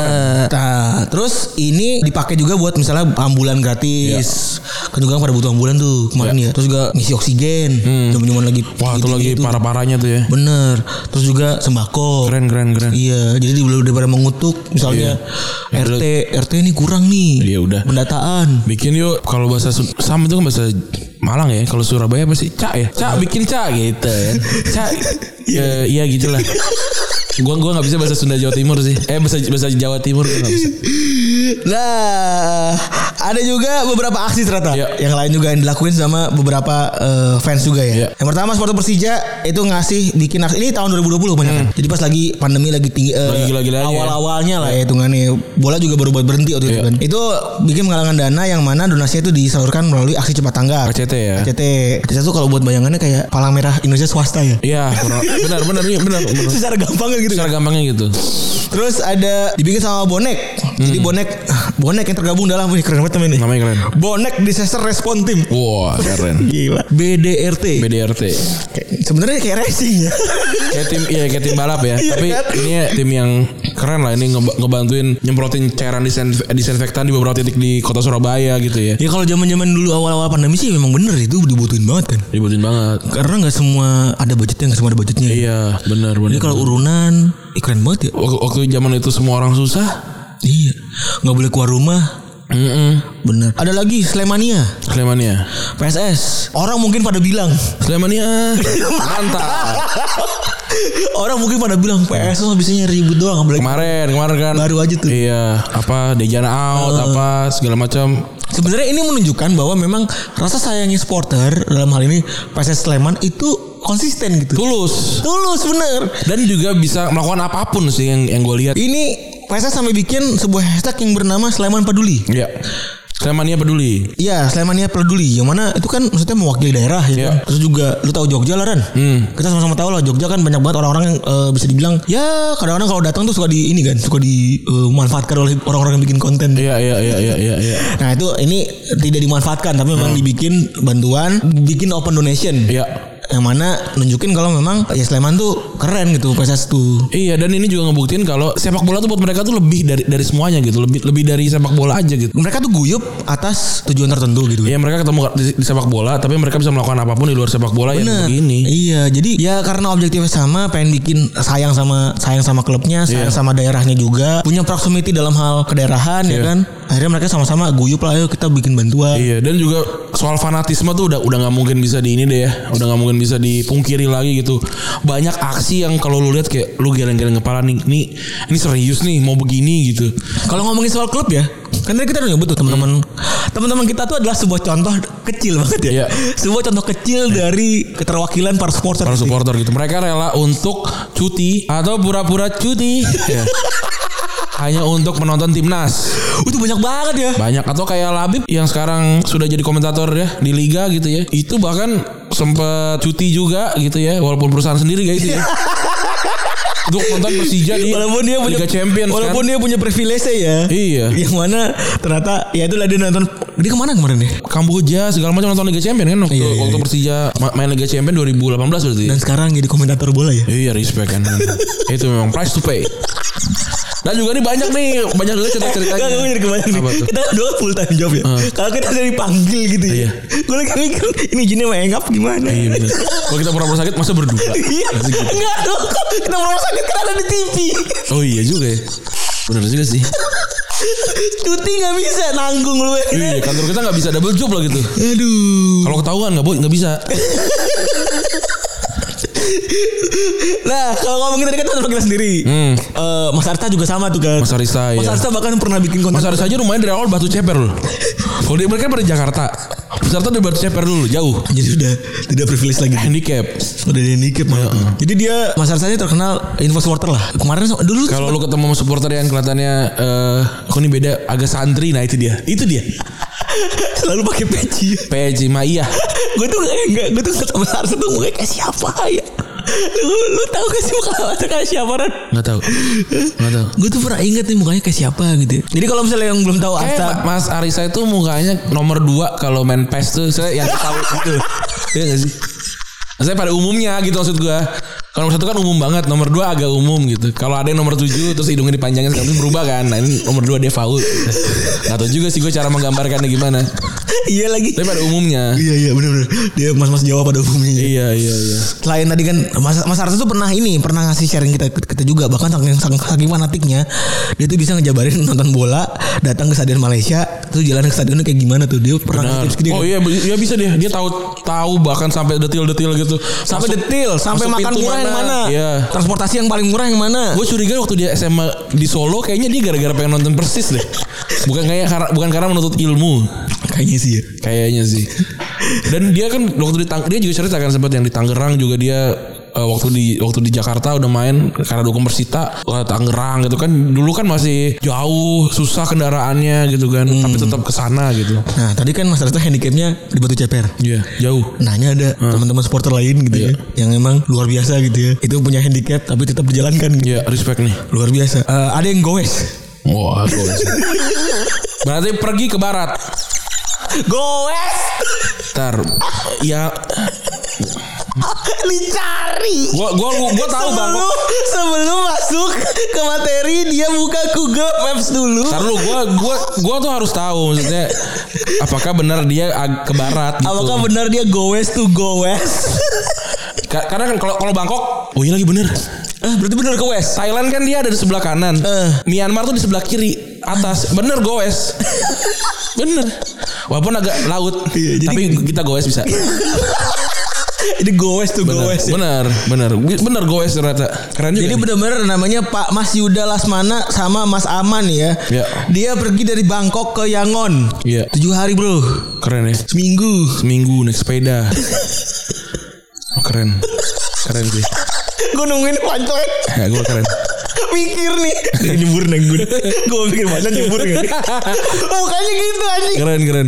Speaker 2: Nah, terus ini dipakai juga buat misalnya ambulan gratis.
Speaker 3: Ya.
Speaker 2: Kan juga pada butuh ambulan tuh kemarin ya. Terus juga ngisi oksigen. Zaman-zaman lagi
Speaker 3: Hmm. Wah, itu lagi
Speaker 2: gitu-gitu.
Speaker 3: parah-parahnya tuh ya.
Speaker 2: Bener. Terus juga sembako.
Speaker 3: Keren, keren, keren.
Speaker 2: Iya, jadi dulu daripada mengutuk misalnya
Speaker 3: Iya.
Speaker 2: RT RT ini kurang nih.
Speaker 3: Iya, udah.
Speaker 2: Pendataan.
Speaker 3: Bikin yuk kalau bahasa Su- Sam itu kan bahasa Malang ya. Kalau Surabaya pasti cak ya. Cak bikin cak gitu ya. Cak ya iya gitulah. Gua gua nggak bisa bahasa Sunda Jawa Timur sih. Eh bahasa bahasa Jawa Timur gua nggak bisa.
Speaker 2: Nah, ada juga beberapa aksi ternyata
Speaker 3: Iya.
Speaker 2: yang lain juga yang dilakuin sama beberapa eh, fans juga ya.
Speaker 3: Iya.
Speaker 2: Yang pertama supporter Persija itu ngasih bikin aksi ini tahun 2020
Speaker 3: Hmm.
Speaker 2: banyak kan. Jadi pas lagi pandemi lagi tinggi eh,
Speaker 3: Lagi gila-gilanya ya.
Speaker 2: awal-awalnya lah ya hitungannya bola juga baru buat berhenti waktu itu
Speaker 3: Iya.
Speaker 2: kan. Itu bikin menggalangan dana yang mana donasinya itu disalurkan melalui aksi cepat tanggap.
Speaker 3: ACT ya.
Speaker 2: ACT. ACT itu kalau buat bayangannya kayak palang merah Indonesia swasta ya.
Speaker 3: Iya, kurang- benar benar iya, benar. benar.
Speaker 2: secara gampang gitu
Speaker 3: Secara gampangnya gitu.
Speaker 2: terus ada dibikin sama bonek jadi bonek bonek yang tergabung dalam ini keren banget ini
Speaker 3: Namanya keren.
Speaker 2: bonek disaster respon team
Speaker 3: Wah, keren.
Speaker 2: gila BDRT
Speaker 3: BDRT.
Speaker 2: Kayak- sebenarnya kayak racing ya
Speaker 3: Kayak tim iya kayak tim balap ya.
Speaker 2: Iya
Speaker 3: Tapi
Speaker 2: kan?
Speaker 3: ini tim yang keren lah ini ngeba- ngebantuin nyemprotin cairan disinf- disinfektan di beberapa titik di Kota Surabaya gitu ya.
Speaker 2: ya kalau zaman zaman dulu awal awal pandemi sih memang bener itu dibutuhin banget kan
Speaker 3: Ributin banget.
Speaker 2: karena nggak semua ada budgetnya nggak semua ada budgetnya
Speaker 3: Iya, benar benar.
Speaker 2: jadi kalau urunan ih keren banget ya
Speaker 3: waktu, waktu zaman itu semua orang susah.
Speaker 2: iya nggak boleh keluar rumah
Speaker 3: Mm-mm.
Speaker 2: Bener. Ada lagi Slemania,
Speaker 3: Slemania.
Speaker 2: PSS. Orang mungkin pada bilang,
Speaker 3: Slemania. Mantap.
Speaker 2: orang mungkin pada bilang PSS habisnya ribut doang apalagi
Speaker 3: Kemarin, kemarin kan.
Speaker 2: baru aja tuh. Ah.
Speaker 3: Iya, apa Dejana out, apa segala macam.
Speaker 2: Sebenarnya ini menunjukkan bahwa memang rasa sayangnya supporter dalam hal ini PSS Sleman itu konsisten gitu.
Speaker 3: Tulus.
Speaker 2: Tulus bener.
Speaker 3: Dan juga bisa melakukan apapun sih yang yang gue lihat.
Speaker 2: Ini PSS sampai bikin sebuah hashtag yang bernama Sleman Peduli.
Speaker 3: Iya. Slemania peduli.
Speaker 2: Iya, Slemania peduli. Yang mana itu kan maksudnya mewakili daerah gitu.
Speaker 3: Iya. Hmm.
Speaker 2: Terus juga lu tahu Jogja lah Ren. Kita sama-sama tahu lah Jogja kan banyak banget orang-orang yang eh, bisa dibilang ya kadang-kadang kalau datang tuh suka di ini kan, suka dimanfaatkan oleh orang-orang yang bikin konten.
Speaker 3: Iya, iya, iya, iya, iya, iya.
Speaker 2: Nah, itu ini tidak dimanfaatkan tapi
Speaker 3: Hmm.
Speaker 2: memang dibikin bantuan, bikin open donation.
Speaker 3: Iya.
Speaker 2: Yang mana nunjukin kalau memang ya Sleman tuh keren gitu PSS tuh.
Speaker 3: Iya dan ini juga ngebuktiin kalau sepak bola tuh buat mereka tuh lebih dari dari semuanya gitu, lebih lebih dari sepak bola aja gitu.
Speaker 2: Mereka tuh guyup atas tujuan tertentu gitu.
Speaker 3: Iya mereka ketemu di, di sepak bola, tapi mereka bisa melakukan apapun di luar sepak bola yang
Speaker 2: Bener.
Speaker 3: begini.
Speaker 2: Iya, jadi ya karena objektifnya sama, pengen bikin sayang sama sayang sama klubnya, sayang
Speaker 3: Iya.
Speaker 2: sama daerahnya juga, punya proximity dalam hal kedaerahan ya
Speaker 3: Iya.
Speaker 2: kan. Akhirnya mereka sama-sama guyup lah, ayo kita bikin bantuan.
Speaker 3: Iya dan juga soal fanatisme tuh udah udah nggak mungkin bisa di ini deh ya, udah nggak mungkin bisa dipungkiri lagi gitu. Banyak aksi yang kalau lu lihat kayak lu geleng-geleng kepala nih, nih ini serius nih mau begini gitu.
Speaker 2: Kalau ngomongin soal klub ya, kan tadi kita udah nyebut tuh teman-teman. Teman-teman kita tuh adalah sebuah contoh kecil banget ya.
Speaker 3: Iya.
Speaker 2: Sebuah contoh kecil dari keterwakilan para supporter.
Speaker 3: Para supporter gitu, mereka rela untuk cuti atau pura-pura cuti. Ya. Hanya untuk menonton timnas.
Speaker 2: Itu banyak banget ya.
Speaker 3: banyak atau kayak Labib yang sekarang sudah jadi komentator ya di liga gitu ya itu bahkan sempet cuti juga gitu ya walaupun perusahaan sendiri guys ya untuk nonton Persija di
Speaker 2: Walaupun dia punya
Speaker 3: Iya. Liga Champions kan.
Speaker 2: Walaupun dia punya privilege ya.
Speaker 3: iya
Speaker 2: Yang mana ternyata ya itulah dia nonton. Dia kemana kemarin
Speaker 3: Iya.
Speaker 2: ya?
Speaker 3: Kamboja segala macam nonton Liga Champions kan waktu,
Speaker 2: Iya, iya,
Speaker 3: waktu
Speaker 2: iya.
Speaker 3: Persija ma- main Liga Champions 2018 berarti ya.
Speaker 2: Dan sekarang jadi komentator bola ya.
Speaker 3: iya respect kan itu memang price to pay dan juga nih banyak nih banyak juga cerita-ceritanya
Speaker 2: Gak, gue jadi kebayang nih.
Speaker 3: Iya. Apa tuh? Ah.
Speaker 2: Kita dua full time job ya. Kalau kita dari panggil gitu ya.
Speaker 3: Iya.
Speaker 2: Gue lagi mikir ini izinnya mengap gimana?
Speaker 3: Iya bener. Kalau kita pura-pura sakit masa berdua.
Speaker 2: Iya.
Speaker 3: Pasti gitu.
Speaker 2: Enggak dong. Kita mau sakit kan ada di TV.
Speaker 3: Oh iya juga ya. Bener juga sih.
Speaker 2: Cuti gak bisa nanggung lu. ya.
Speaker 3: Iya, kantor kita nggak bisa double job lah gitu.
Speaker 2: Aduh.
Speaker 3: Kalau ketahuan nggak boleh nggak bisa.
Speaker 2: Nah, kalau ngomongin tadi kan tentang kita sendiri.
Speaker 3: Hmm.
Speaker 2: Eh, Mas Arta juga sama tuh kan.
Speaker 3: Mas Arista
Speaker 2: Mas
Speaker 3: ya.
Speaker 2: Arta bahkan pernah bikin konten.
Speaker 3: Mas Aris aja rumahnya dari awal batu ceper loh. Kalau dia mereka dari Jakarta, Mas Arista dari batu ceper dulu jauh.
Speaker 2: Jadi udah tidak privilege
Speaker 3: Eh,
Speaker 2: lagi.
Speaker 3: Handicap.
Speaker 2: Udah dikit mah. Jadi dia Iya. Mas Arta ini terkenal info supporter lah. Kemarin so- dulu
Speaker 3: Kalau lu ketemu sama supporter yang kelihatannya eh kok ini beda agak santri nah itu dia. Itu dia.
Speaker 2: selalu pakai peci.
Speaker 3: PJ Maia.
Speaker 2: gue tuh kayak enggak gue tuh nggak sama Sarsa tuh mukanya kayak siapa ya lu lu tahu gak sih muka Sarsa kayak siapa Ren
Speaker 3: Nggak tahu. Nggak tahu.
Speaker 2: gue tuh pernah inget nih mukanya kayak siapa gitu jadi kalau misalnya yang belum tahu
Speaker 3: Eh,
Speaker 2: Asta
Speaker 3: Ma- Mas Arisa itu mukanya nomor 2 kalau main PES tuh saya yang tahu gitu. Iya gak sih? Saya pada umumnya gitu maksud gua. Kalau nomor satu kan umum banget, nomor 2 agak umum gitu. Kalau ada yang nomor 7 terus hidungnya dipanjangin sekali terus berubah kan. Nah, ini nomor 2 default. Gitu. Gak tahu juga sih gua cara menggambarkannya gimana.
Speaker 2: iya lagi
Speaker 3: Tapi pada umumnya.
Speaker 2: iya iya benar benar dia mas mas Jawa pada umumnya
Speaker 3: Iya, iya, iya.
Speaker 2: selain tadi kan mas mas Sarsa tuh pernah ini pernah ngasih sharing kita kita juga bahkan saking saking, saking fanatiknya dia tuh bisa ngejabarin nonton bola datang ke stadion Malaysia terus jalan ke stadionnya kayak gimana tuh dia pernah ngasih
Speaker 3: Benar.
Speaker 2: tips gini
Speaker 3: Oh
Speaker 2: kan?
Speaker 3: iya, bi- iya bisa dia. Dia tahu tahu bahkan sampai detil-detil gitu.
Speaker 2: sampai
Speaker 3: Masuk-
Speaker 2: detil sampai
Speaker 3: masuk
Speaker 2: makan
Speaker 3: pintu
Speaker 2: murah yang mana
Speaker 3: Iya.
Speaker 2: transportasi yang paling murah yang mana
Speaker 3: Gue curiga waktu dia SMA di Solo kayaknya dia gara-gara pengen nonton persis deh. Bukan kayak karena bukan karena menuntut ilmu
Speaker 2: kayaknya sih ya
Speaker 3: kayaknya sih. Dan dia kan waktu di Tang- dia juga cerita kan sempat yang di Tangerang juga dia eh, waktu di waktu di Jakarta udah main karena dukung Persita ke Tangerang gitu kan dulu kan masih jauh susah kendaraannya gitu kan tapi tetap ke sana gitu.
Speaker 2: Nah tadi kan Mas Rasta handicapnya di Batu Ceper
Speaker 3: Iya, jauh.
Speaker 2: Nanya ada teman-teman supporter lain gitu
Speaker 3: Iya.
Speaker 2: ya Yang emang luar biasa gitu ya Itu punya handicap tapi tetap dijalankan gitu.
Speaker 3: Iya, respect nih.
Speaker 2: Luar biasa Eh, Ada yang goes
Speaker 3: Wah, gua sih. Berarti pergi ke barat.
Speaker 2: Goes
Speaker 3: Ntar ya
Speaker 2: Dicari
Speaker 3: gua gua gua tahu Bang.
Speaker 2: sebelum, sebelum masuk ke materi Dia buka Google Maps dulu
Speaker 3: Ntar lu gua gua gua tuh harus tahu maksudnya apakah benar dia ag- ke barat gitu.
Speaker 2: Apakah benar dia goes to goes
Speaker 3: Ka- Karena kan kalau kalau Bangkok, oh iya lagi bener.
Speaker 2: Eh berarti benar ke west
Speaker 3: Thailand kan dia ada di sebelah kanan.
Speaker 2: Eh.
Speaker 3: Myanmar tuh di sebelah kiri. atas. Bener goes. Bener. Walaupun agak laut,
Speaker 2: Iya, jadi-
Speaker 3: tapi kita goes bisa.
Speaker 2: Ini goes tuh
Speaker 3: Bener,
Speaker 2: goes. ya.
Speaker 3: bener, bener, bener goes ternyata. Keren juga.
Speaker 2: Jadi
Speaker 3: nih.
Speaker 2: benar-benar namanya Pak Mas Yuda Lasmana sama Mas Aman ya.
Speaker 3: Iya.
Speaker 2: Dia pergi dari Bangkok ke Yangon.
Speaker 3: Iya.
Speaker 2: Tujuh hari bro.
Speaker 3: keren ya.
Speaker 2: Seminggu.
Speaker 3: Seminggu naik sepeda. Oh, keren. Keren sih.
Speaker 2: gue nungguin pancoet.
Speaker 3: Ya, gue keren.
Speaker 2: Mikir nih. nyebur neng gue. Gue pikir masa nyebur nggak nih. Mukanya gitu anjing.
Speaker 3: Keren, keren.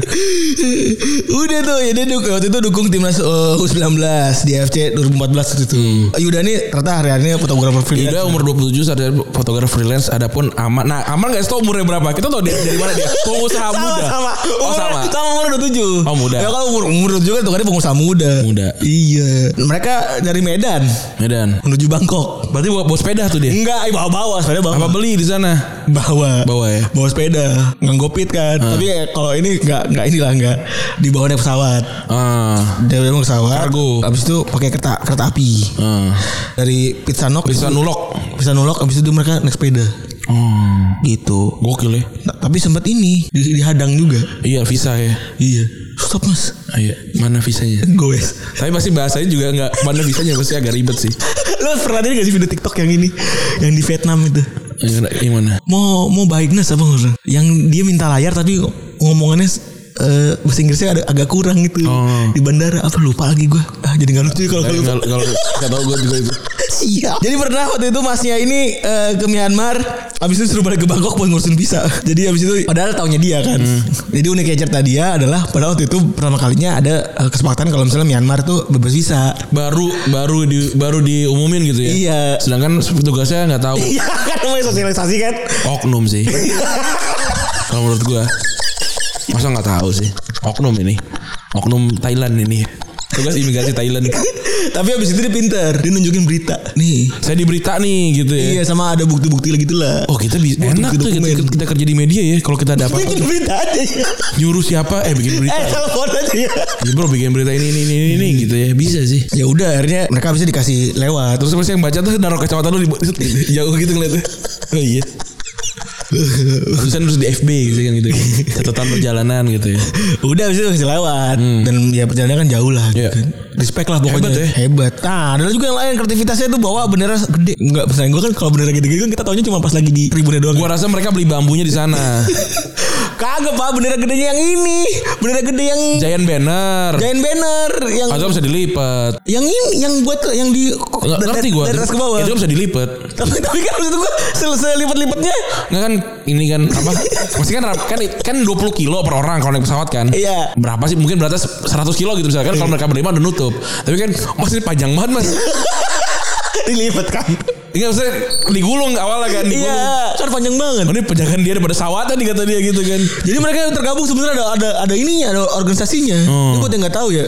Speaker 2: Udah tuh ya dia duk- waktu itu dukung timnas eh, U19 di AFC 2014 waktu itu. Eh, Yuda nih ternyata hari-harinya fotografer film.
Speaker 3: Yuda umur 27 saat dia fotografer freelance adapun Aman. Nah, Aman guys tahu umurnya berapa? Kita tahu dari, dari mana dia? Pengusaha
Speaker 2: sama,
Speaker 3: muda.
Speaker 2: Sama
Speaker 3: Oh, sama.
Speaker 2: Sama umur 27.
Speaker 3: Oh, muda.
Speaker 2: Ya kalau umur umur 27 kan tukangnya pengusaha muda.
Speaker 3: Muda.
Speaker 2: Iya. Mereka dari Medan
Speaker 3: Medan.
Speaker 2: menuju Bangkok.
Speaker 3: Ya, Berarti bawa, bawa sepeda tuh dia.
Speaker 2: Enggak, eh, bawa-bawa sepeda bawa.
Speaker 3: Apa beli di sana?
Speaker 2: bawa.
Speaker 3: Bawa ya. Ah.
Speaker 2: Bawa sepeda, nganggopit kan. Tapi ya, kalau ini enggak enggak inilah enggak dibawa naik pesawat.
Speaker 3: Ah.
Speaker 2: Dia naik pesawat.
Speaker 3: Kargo.
Speaker 2: Abis itu pakai kereta kereta api.
Speaker 3: Ah.
Speaker 2: Dari Pizza Nok
Speaker 3: Bisa nulok.
Speaker 2: Pizza Nulok abis itu mereka naik sepeda
Speaker 3: Hmm.
Speaker 2: gitu.
Speaker 3: Gokil ya.
Speaker 2: Nah, tapi sempat ini di- dihadang juga.
Speaker 3: Iya visa ya.
Speaker 2: Iya. Stop mas.
Speaker 3: Iya. Mana visanya?
Speaker 2: Goes.
Speaker 3: Tapi pasti bahasanya juga nggak mana visanya pasti agak ribet sih.
Speaker 2: Lo pernah lihat gak sih video TikTok yang ini Yang di Vietnam itu
Speaker 3: Yang yang mana?
Speaker 2: Mau mau baikness apa nggak? Yang dia minta layar tapi ngomongannya eh, bahasa Inggrisnya ada, agak kurang gitu
Speaker 3: Oh.
Speaker 2: di bandara apa lupa lagi gue ah, jadi nggak lucu kalau kalau
Speaker 3: Kalau kalau nggak tahu gue juga itu.
Speaker 2: Siap. Jadi pernah waktu itu masnya ini eh, ke Myanmar, abis itu suruh balik ke Bangkok buat ngurusin visa. Jadi abis itu padahal tahunnya dia kan. Jadi uniknya cerita dia adalah pada waktu itu pertama kalinya ada eh, kesepakatan kalau misalnya Myanmar tuh bebas visa.
Speaker 3: Baru baru di baru diumumin gitu ya.
Speaker 2: Iya.
Speaker 3: Sedangkan petugasnya nggak tahu.
Speaker 2: Iya kan namanya sosialisasi kan.
Speaker 3: Oknum sih. Kalau menurut gua. Masa nggak tahu sih. Oknum ini. Oknum Thailand ini. Tugas imigrasi Thailand.
Speaker 2: Tapi abis itu dia pinter, dia nunjukin berita. Nih.
Speaker 3: Saya diberita nih gitu ya.
Speaker 2: Iya sama ada bukti-bukti gitu lah.
Speaker 3: Oh kita bisa
Speaker 2: Butuh
Speaker 3: enak tuh kita,
Speaker 2: dokumen.
Speaker 3: kita kerja di media ya kalau kita dapat
Speaker 2: Bikin berita aja ya.
Speaker 3: nyuruh siapa eh bikin berita
Speaker 2: Eh telepon aja ya.
Speaker 3: Ya, bro bikin berita ini ini ini ini, ini gitu ya bisa sih
Speaker 2: Ya udah akhirnya mereka bisa dikasih lewat.
Speaker 3: terus terus yang baca tuh naruh kacamata lu di di- jauh gitu ngeliatnya oh iya Terusan terus di FB gitu kan gitu catatan perjalanan gitu ya
Speaker 2: Udah abis itu dikasih lewat dan ya perjalanan kan jauh lah.
Speaker 3: Hmm. Iya.
Speaker 2: Gitu. Respect lah pokoknya.
Speaker 3: Hebat ya.
Speaker 2: Hebat. Nah ada juga yang lain kreativitasnya tuh bawa bendera gede. Enggak pesan gue kan kalau bendera gede-gede kan kita taunya cuma pas lagi di tribunnya doang.
Speaker 3: gua rasa mereka beli bambunya di sana
Speaker 2: Kagak pak bendera gedenya yang ini. Bendera gede yang
Speaker 3: giant banner
Speaker 2: giant banner yang
Speaker 3: atau bisa dilipat
Speaker 2: yang ini yang buat yang di
Speaker 3: nggak
Speaker 2: dari-
Speaker 3: ngerti gua
Speaker 2: dari atas ke bawah.
Speaker 3: itu bisa dilipat
Speaker 2: tapi tapi kan maksud gue selesai lipat-lipatnya
Speaker 3: Nggak kan ini kan apa? Pasti kan kan kan 20 kilo per orang kalau naik pesawat kan.
Speaker 2: Iya.
Speaker 3: Berapa sih mungkin beratnya 100 kilo gitu misalkan kalau mereka berlima udah nutup. Tapi kan Mas ini panjang banget Mas.
Speaker 2: dilipat kan
Speaker 3: Enggak usah digulung awalnya kan digulung.
Speaker 2: iya kan panjang banget
Speaker 3: Oh, ini penjagaan dia daripada sawatan nih kata dia gitu kan.
Speaker 2: jadi mereka yang tergabung sebenarnya ada ada ada ininya ada organisasinya itu
Speaker 3: Hmm.
Speaker 2: buat yang nggak tahu ya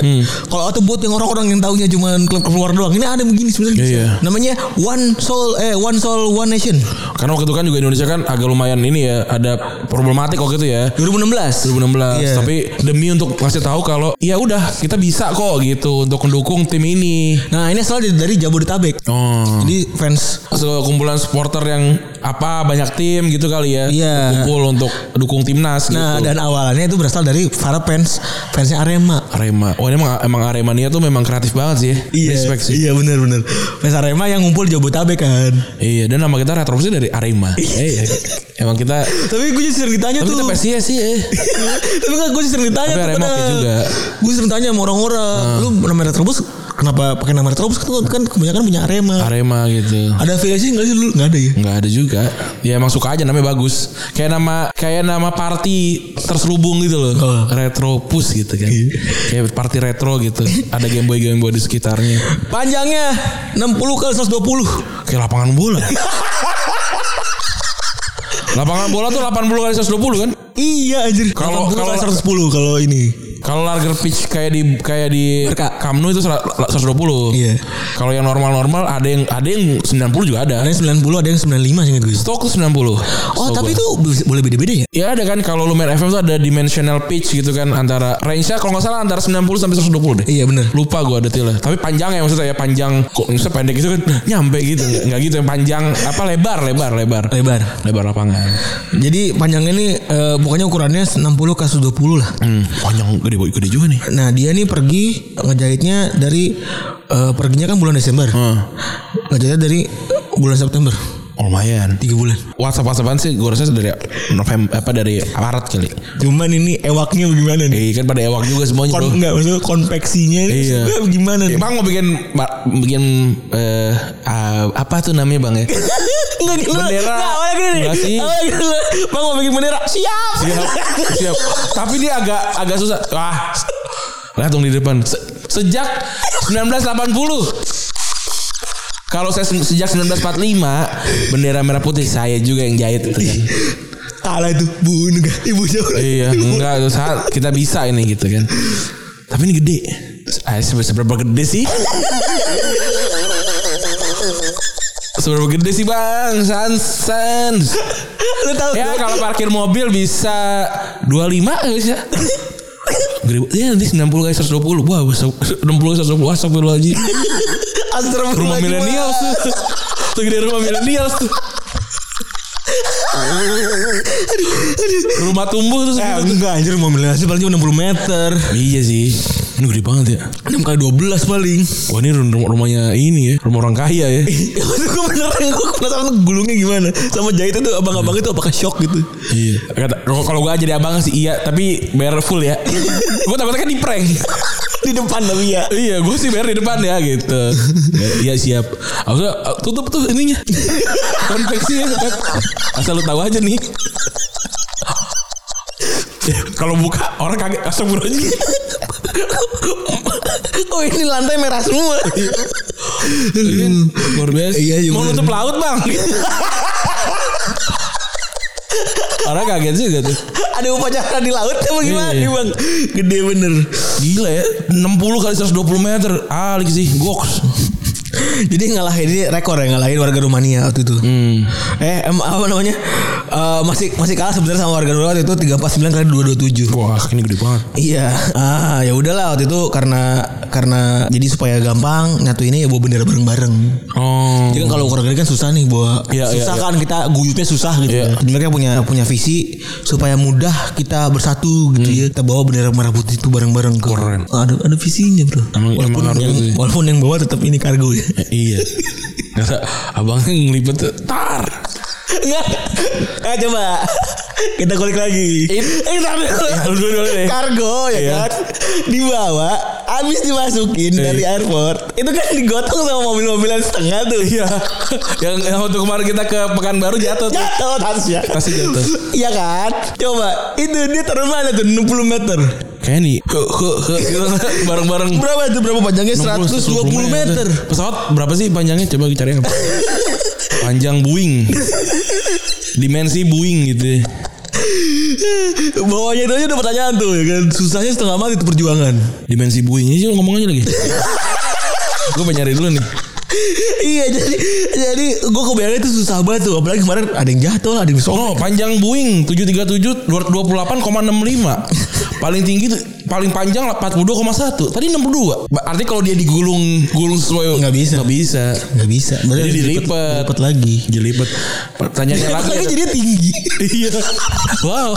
Speaker 2: kalau atau buat yang orang-orang yang taunya cuman klub keluar doang ini ada begini sebenarnya
Speaker 3: Iya, iya.
Speaker 2: namanya one soul eh one soul one nation
Speaker 3: Karena waktu itu kan juga Indonesia kan agak lumayan ini ya ada problematik waktu itu ya.
Speaker 2: 2016
Speaker 3: 2016
Speaker 2: Iya.
Speaker 3: tapi demi untuk ngasih tahu kalau ya udah kita bisa kok gitu untuk mendukung tim ini.
Speaker 2: nah ini asal dari, dari Jabodetabek
Speaker 3: Oh.
Speaker 2: jadi fans
Speaker 3: sekumpulan supporter yang apa banyak tim gitu kali ya.
Speaker 2: Iya.
Speaker 3: Kumpul untuk dukung timnas
Speaker 2: nah
Speaker 3: gitu.
Speaker 2: dan awalannya itu berasal dari para fans fansnya Arema
Speaker 3: Arema. Oh, ini emang emang Aremania tuh memang kreatif banget sih. ya. Respect sih.
Speaker 2: iya benar-benar fans Arema yang ngumpul di Jabodetabek kan
Speaker 3: Iya, dan nama kita retrobusnya dari Arema. Iya. emang kita
Speaker 2: Tapi gue jadi sering ditanya
Speaker 3: tapi
Speaker 2: tuh.
Speaker 3: kita PSIS sih. Eh.
Speaker 2: tapi gak gue sering ditanya
Speaker 3: Tapi Arema oke juga.
Speaker 2: Gue sering tanya sama orang-orang, lu nama Retrobus kenapa pakai nama Retrobus kan, kan kebanyakan punya Arema.
Speaker 3: Arema gitu.
Speaker 2: ada afiliasi enggak sih lu? Enggak ada ya.
Speaker 3: Nggak ada juga. Ya emang suka aja namanya bagus. Kayak nama kayak nama party terselubung gitu loh.
Speaker 2: Oh. Iya.
Speaker 3: Retropus gitu kan. kayak party retro gitu. Ada Game Boy Game Boy di sekitarnya.
Speaker 2: Panjangnya 60 kali 120.
Speaker 3: Kayak lapangan bola. lapangan bola tuh 80 kali 120 kan?
Speaker 2: Iya anjir.
Speaker 3: Kalau-
Speaker 2: 80
Speaker 3: kalau-
Speaker 2: kali 110 kalau ini.
Speaker 3: Kalau larger pitch kayak di kayak di
Speaker 2: Mereka.
Speaker 3: Kamnu itu sera- la- 120.
Speaker 2: Iya.
Speaker 3: Kalau yang normal-normal ada yang ada yang 90 juga ada.
Speaker 2: Ada yang 90 ada yang 95 sih ingat gue.
Speaker 3: Stok tuh 90.
Speaker 2: Oh
Speaker 3: Setahu
Speaker 2: tapi
Speaker 3: gua.
Speaker 2: itu bisa- boleh beda-beda ya?
Speaker 3: Ya ada kan kalau lu main FM tuh ada dimensional pitch gitu kan antara range-nya kalau nggak salah antara 90 sampai 120 deh.
Speaker 2: Iya bener.
Speaker 3: Lupa gua detailnya. Tapi panjang ya maksudnya ya panjang. Kok maksudnya pendek gitu kan nah, nyampe gitu. Nggak nggak gitu yang panjang apa lebar lebar lebar.
Speaker 2: Lebar.
Speaker 3: Lebar lapangan.
Speaker 2: Jadi panjangnya ini eh, pokoknya ukurannya 60 ke 120 lah.
Speaker 3: Hmm, panjang gede gede juga nih.
Speaker 2: Nah dia nih pergi ngejahitnya dari eh, perginya kan bulan Desember. Ngejahitnya dari bulan September.
Speaker 3: Oh, lumayan.
Speaker 2: Tiga bulan.
Speaker 3: WhatsApp WhatsAppan sih gua rasa dari November apa dari Maret kali.
Speaker 2: Cuman ini ewaknya gimana nih?
Speaker 3: Eh kan pada ewak juga semuanya
Speaker 2: Kon
Speaker 3: bro.
Speaker 2: enggak maksudnya konveksinya ini
Speaker 3: Iya.
Speaker 2: sebenarnya gimana nih?
Speaker 3: Bang mau bikin ba- bikin eh, ah, apa tuh namanya bang ya?
Speaker 2: Enggak, lu-
Speaker 3: Bendera.
Speaker 2: Enggak, awalnya gini nih.
Speaker 3: Enggak sih.
Speaker 2: Awalnya gini, lu, Bang mau bikin bendera. Siap.
Speaker 3: siap, siap. Tapi dia agak agak susah. Wah. Langsung di depan. Se- sejak 1980. Kalau saya se- sejak 1945 bendera merah putih saya juga yang jahit itu kan.
Speaker 2: Kalah itu Bu Nuga, Ibu Jawa.
Speaker 3: iya, enggak usah kita bisa ini gitu kan. Tapi ini gede. Ah, sebe- seberapa gede sih? Seberapa gede sih Bang? Sans.
Speaker 2: Lu tahu
Speaker 3: Ya
Speaker 2: gua-
Speaker 3: kalau parkir mobil bisa 25 nggak eh, bisa. Gede banget. Ya nanti 90 kali 120 Wah 60 kali 120 Wah sampai lu aja
Speaker 2: Astagfirullah,
Speaker 3: Rumah
Speaker 2: gimana?
Speaker 3: milenial tuh Segede rumah milenial tuh Rumah tumbuh tuh
Speaker 2: Eh,
Speaker 3: segitu tuh.
Speaker 2: enggak anjir mau milenial sih paling cuma 60 meter.
Speaker 3: Iya sih Ini gede banget ya
Speaker 2: 6 kali 12 paling.
Speaker 3: Wah ini rumah rumahnya ini ya Rumah orang kaya ya
Speaker 2: Ya maksud gue beneran gue penasaran tuh gulungnya gimana sama jahit itu abang-abang itu apakah shock gitu
Speaker 3: Iya Kata- Kalau gue jadi abang sih iya Tapi bayar full ya Gue takutnya kan di prank
Speaker 2: di depan tapi ya
Speaker 3: Iya, gue sih bayar di depan ya gitu. Iya siap. Aku tutup tuh ininya. Konveksinya. Asal lu tahu aja nih. Kalau buka orang kaget asal bro aja.
Speaker 2: oh ini lantai merah semua
Speaker 3: Luar biasa.
Speaker 2: Iya, iya,
Speaker 3: Mau
Speaker 2: bener.
Speaker 3: nutup laut bang. orang kaget juga tuh.
Speaker 2: ada upacara di laut apa gimana
Speaker 3: Iya.
Speaker 2: nih bang gede bener
Speaker 3: Gila ya. 60 kali 120 meter. Alik sih. Goks.
Speaker 2: jadi ngalahin ini rekor ya ngalahin warga Rumania waktu itu
Speaker 3: Hmm.
Speaker 2: eh em, apa namanya Eh, masih masih kalah sebenarnya sama warga Rumania waktu itu 349 kali 227
Speaker 3: Wah ini gede banget.
Speaker 2: Iya, ah ya udahlah waktu itu karena karena jadi supaya gampang nyatuinnya ya bawa bendera bareng-bareng.
Speaker 3: Oh.
Speaker 2: Jadi kan kalau ukuran gede kan susah nih bawa
Speaker 3: Iya,
Speaker 2: susah
Speaker 3: iya,
Speaker 2: kan kita guyutnya susah gitu.
Speaker 3: Iya.
Speaker 2: ya. Sebenarnya punya punya visi supaya mudah kita bersatu gitu ya. Kita bawa bendera merah putih itu bareng-bareng ke.
Speaker 3: Hmm. Keren.
Speaker 2: Ada ada visinya, Bro.
Speaker 3: Emang-
Speaker 2: walaupun
Speaker 3: emang harus
Speaker 2: yang,
Speaker 3: gitu ya.
Speaker 2: walaupun yang bawa tetap ini kargo ya.
Speaker 3: Iya. Kata abangnya kan ngelipet tuh, tar.
Speaker 2: Enggak. Eh coba. Kita kulik lagi.
Speaker 3: Eh, tar dulu. Ya, lu dulu deh.
Speaker 2: Kargo ya
Speaker 3: Iya.
Speaker 2: kan dibawa habis dimasukin
Speaker 3: Iya.
Speaker 2: dari airport itu kan digotong sama mobil-mobilan setengah tuh
Speaker 3: Iya. Yang, yang waktu kemarin kita ke Pekanbaru jatuh tuh.
Speaker 2: jatuh tasnya
Speaker 3: Tasnya jatuh.
Speaker 2: ya? Iya kan? Coba itu dia taruh mana tuh 60 meter.
Speaker 3: Kayak nih. He, he, he, gitu. Bareng-bareng.
Speaker 2: Berapa tuh berapa panjangnya? 120 meter.
Speaker 3: Pesawat berapa sih panjangnya? Coba cari yang apa. Panjang Boeing. Dimensi Boeing gitu.
Speaker 2: Bawahnya itu aja udah pertanyaan tuh ya kan. Susahnya setengah mati itu perjuangan.
Speaker 3: Dimensi Boeing. Ini sih ngomong aja lagi. Gue pengen nyari dulu nih.
Speaker 2: iya jadi jadi gue kebayang itu susah banget tuh apalagi kemarin ada yang jatuh lah ada yang sobek.
Speaker 3: Oh, panjang Boeing 737 228,65. Paling tinggi tuh- paling panjang 42,1. Tadi 62. Ba- Artinya kalau dia digulung gulung sesuai
Speaker 2: Nggak bisa.
Speaker 3: Nggak bisa.
Speaker 2: Nggak bisa. Berarti
Speaker 3: Jadi
Speaker 2: harus
Speaker 3: dilipet.
Speaker 2: dilipet lagi.
Speaker 3: Jelibet. Pertanyaannya
Speaker 2: Dilipet
Speaker 3: lagi.
Speaker 2: lagi jadi tinggi.
Speaker 3: Iya. wow.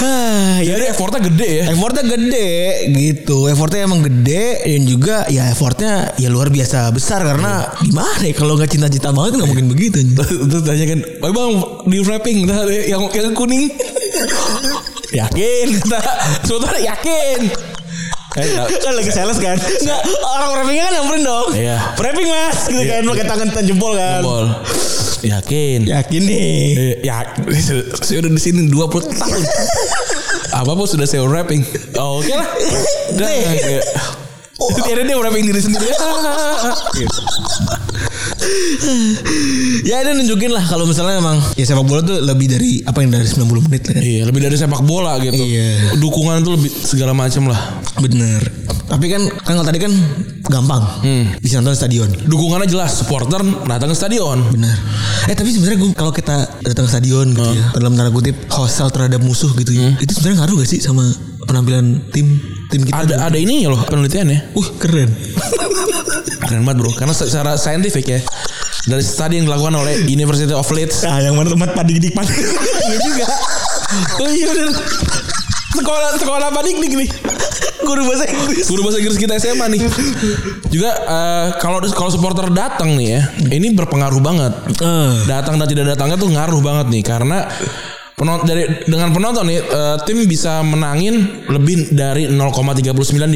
Speaker 2: Hah, ya
Speaker 3: Jadi Iya, effortnya gede ya.
Speaker 2: Effortnya gede gitu Effortnya emang gede Dan juga ya effortnya ya luar biasa besar Karena gimana ya Kalau nggak cinta-cinta banget nggak mungkin begitu
Speaker 3: Terus tanya kan, "Oi Bang, di wrapping Nah, yang yang kuning." yakin kata. Sebetulnya yakin. Eh, nggak-
Speaker 2: kan lagi sales kan Enggak Orang wrappingnya kan nyamperin dong
Speaker 3: Iya.
Speaker 2: Wrapping mas Gitu kan Pakai tangan tangan jempol Iya. kan
Speaker 3: Bol. Yakin.
Speaker 2: Yakin nih
Speaker 3: Eh, ya saya udah di sini 20 tahun. Apa pun sudah saya wrapping. Oh, oke lah. Udah,
Speaker 2: Nih.
Speaker 3: ya. Oh, akhirnya dia merapin diri sendiri. Gitu.
Speaker 2: ya ini nunjukin lah kalau misalnya emang ya sepak bola tuh lebih dari apa yang dari 90 menit lah kan.
Speaker 3: iya, lebih dari sepak bola gitu.
Speaker 2: Iya.
Speaker 3: Dukungan tuh lebih segala macam lah.
Speaker 2: Bener. Tapi kan kan kalau tadi kan gampang. Bisa nonton stadion.
Speaker 3: Dukungannya jelas, supporter datang ke stadion.
Speaker 2: Bener. Eh tapi sebenarnya gue kalau kita datang ke stadion gitu ya, dalam tanda kutip hostile terhadap musuh gitu ya. Itu sebenarnya ngaruh gak sih sama penampilan tim tim kita?
Speaker 3: Ada ada ininya loh penelitiannya.
Speaker 2: Wah keren.
Speaker 3: Keren banget bro Karena secara saintifik ya Dari studi yang dilakukan oleh University of Leeds
Speaker 2: Nah, yang mana tempat padi dik padi.
Speaker 3: Iya juga Oh iya bener Sekolah, sekolah apa nih nih
Speaker 2: Guru bahasa Inggris.
Speaker 3: Guru bahasa Inggris kita SMA nih Juga eh, kalau kalau supporter datang nih ya Ini berpengaruh banget
Speaker 2: Eh.
Speaker 3: Datang dan tidak datangnya tuh ngaruh banget nih Karena penon- dari dengan penonton nih eh, tim bisa menangin lebih dari 0,39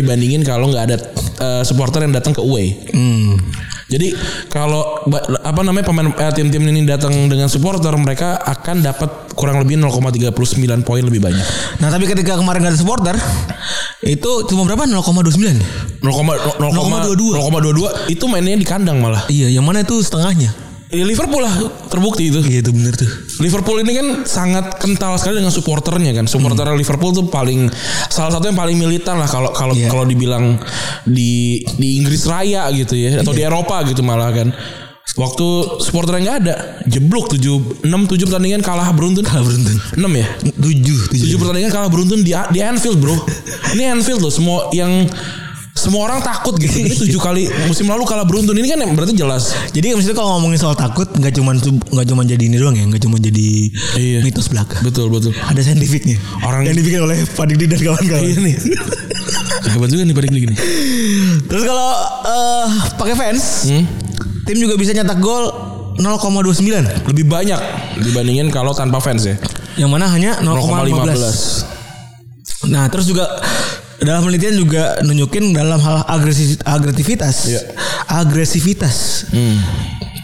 Speaker 3: dibandingin kalau nggak ada eh, supporter yang datang ke away. Hmm. Jadi kalau ba- apa namanya pemain eh, tim-tim ini datang dengan supporter mereka akan dapat kurang lebih 0,39 poin lebih banyak.
Speaker 2: Nah tapi ketika kemarin gak ada supporter itu cuma berapa 0,29
Speaker 3: 0,0, 0,22 0,22 itu mainnya di kandang malah.
Speaker 2: Iya yang mana itu setengahnya
Speaker 3: Ya, Liverpool lah terbukti itu.
Speaker 2: Iya itu bener tuh
Speaker 3: Liverpool ini kan sangat kental sekali dengan supporternya kan. Supporter Liverpool tuh paling salah satu yang paling militan lah kalau kalau
Speaker 2: Iya.
Speaker 3: kalau dibilang di di Inggris Raya gitu ya atau di Eropa gitu malah kan. Waktu supporternya nggak ada, jeblok 7 6 7 pertandingan kalah beruntun.
Speaker 2: Kalah beruntun
Speaker 3: 6 ya?
Speaker 2: 7
Speaker 3: 7 pertandingan kalah beruntun di di Anfield, Bro. Ini Anfield loh, semua yang semua orang takut gitu. Ini 7 kali musim lalu kalah beruntun ini kan berarti jelas
Speaker 2: Jadi maksudnya kalau ngomongin soal takut nggak cuman nggak cuman jadi ini doang ya, nggak cuman jadi
Speaker 3: Iya.
Speaker 2: mitos belaka.
Speaker 3: betul betul.
Speaker 2: Ada saintifiknya.
Speaker 3: Orang-
Speaker 2: yang dibikin oleh Pak Didi dan
Speaker 3: Iya
Speaker 2: kawan-kawan.
Speaker 3: nih. Hebat juga nih paling gini.
Speaker 2: Terus kalau eh pakai fans,
Speaker 3: Hmm?
Speaker 2: tim juga bisa nyetak gol 0,29
Speaker 3: lebih banyak dibandingin kalau tanpa fans ya.
Speaker 2: yang mana hanya 0,15.
Speaker 3: 0,15.
Speaker 2: Nah, terus juga dalam penelitian juga nunjukin dalam hal agresi- agresivitas.
Speaker 3: Iya. Hmm.
Speaker 2: Agresivitas.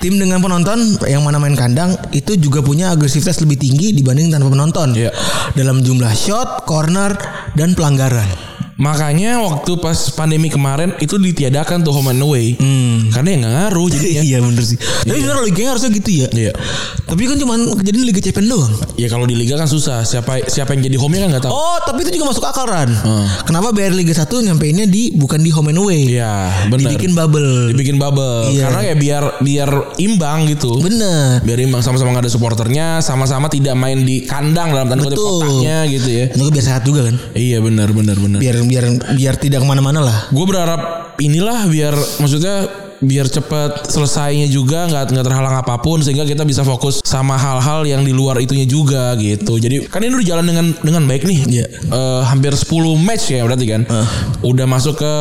Speaker 2: Tim dengan penonton yang mana main kandang itu juga punya agresivitas lebih tinggi dibanding tanpa penonton.
Speaker 3: Iya.
Speaker 2: Dalam jumlah shot, corner, dan pelanggaran.
Speaker 3: Makanya waktu pas pandemi kemarin itu ditiadakan tuh home and away.
Speaker 2: Hmm.
Speaker 3: Karena ya nggak ngaruh jadinya.
Speaker 2: Iya bener sih. Tapi sebenarnya logikanya harusnya gitu ya.
Speaker 3: Iya.
Speaker 2: Tapi kan cuma kejadian Liga Champions doang.
Speaker 3: Ya kalau di liga kan susah. Siapa siapa yang jadi home-nya kan nggak tahu.
Speaker 2: Oh, tapi itu juga masuk akal Ran. Kenapa biar Liga 1 nyampeinnya di bukan di home and away?
Speaker 3: Hmm. Iya, benar.
Speaker 2: Dibikin bubble.
Speaker 3: Dibikin bubble.
Speaker 2: Iya.
Speaker 3: Karena ya biar biar imbang gitu.
Speaker 2: Bener.
Speaker 3: Biar imbang sama-sama nggak ada supporternya, sama-sama tidak main di kandang dalam tanda kutip
Speaker 2: Betul.
Speaker 3: kotaknya gitu ya.
Speaker 2: Itu biar sehat juga kan.
Speaker 3: Iya benar benar benar.
Speaker 2: Biar biar biar tidak kemana-mana lah.
Speaker 3: gue berharap inilah biar maksudnya biar cepat selesainya juga nggak nggak terhalang apapun sehingga kita bisa fokus sama hal-hal yang di luar itunya juga gitu jadi kan ini udah jalan dengan dengan baik nih
Speaker 2: Iya.
Speaker 3: Eh, hampir 10 match ya berarti kan udah masuk ke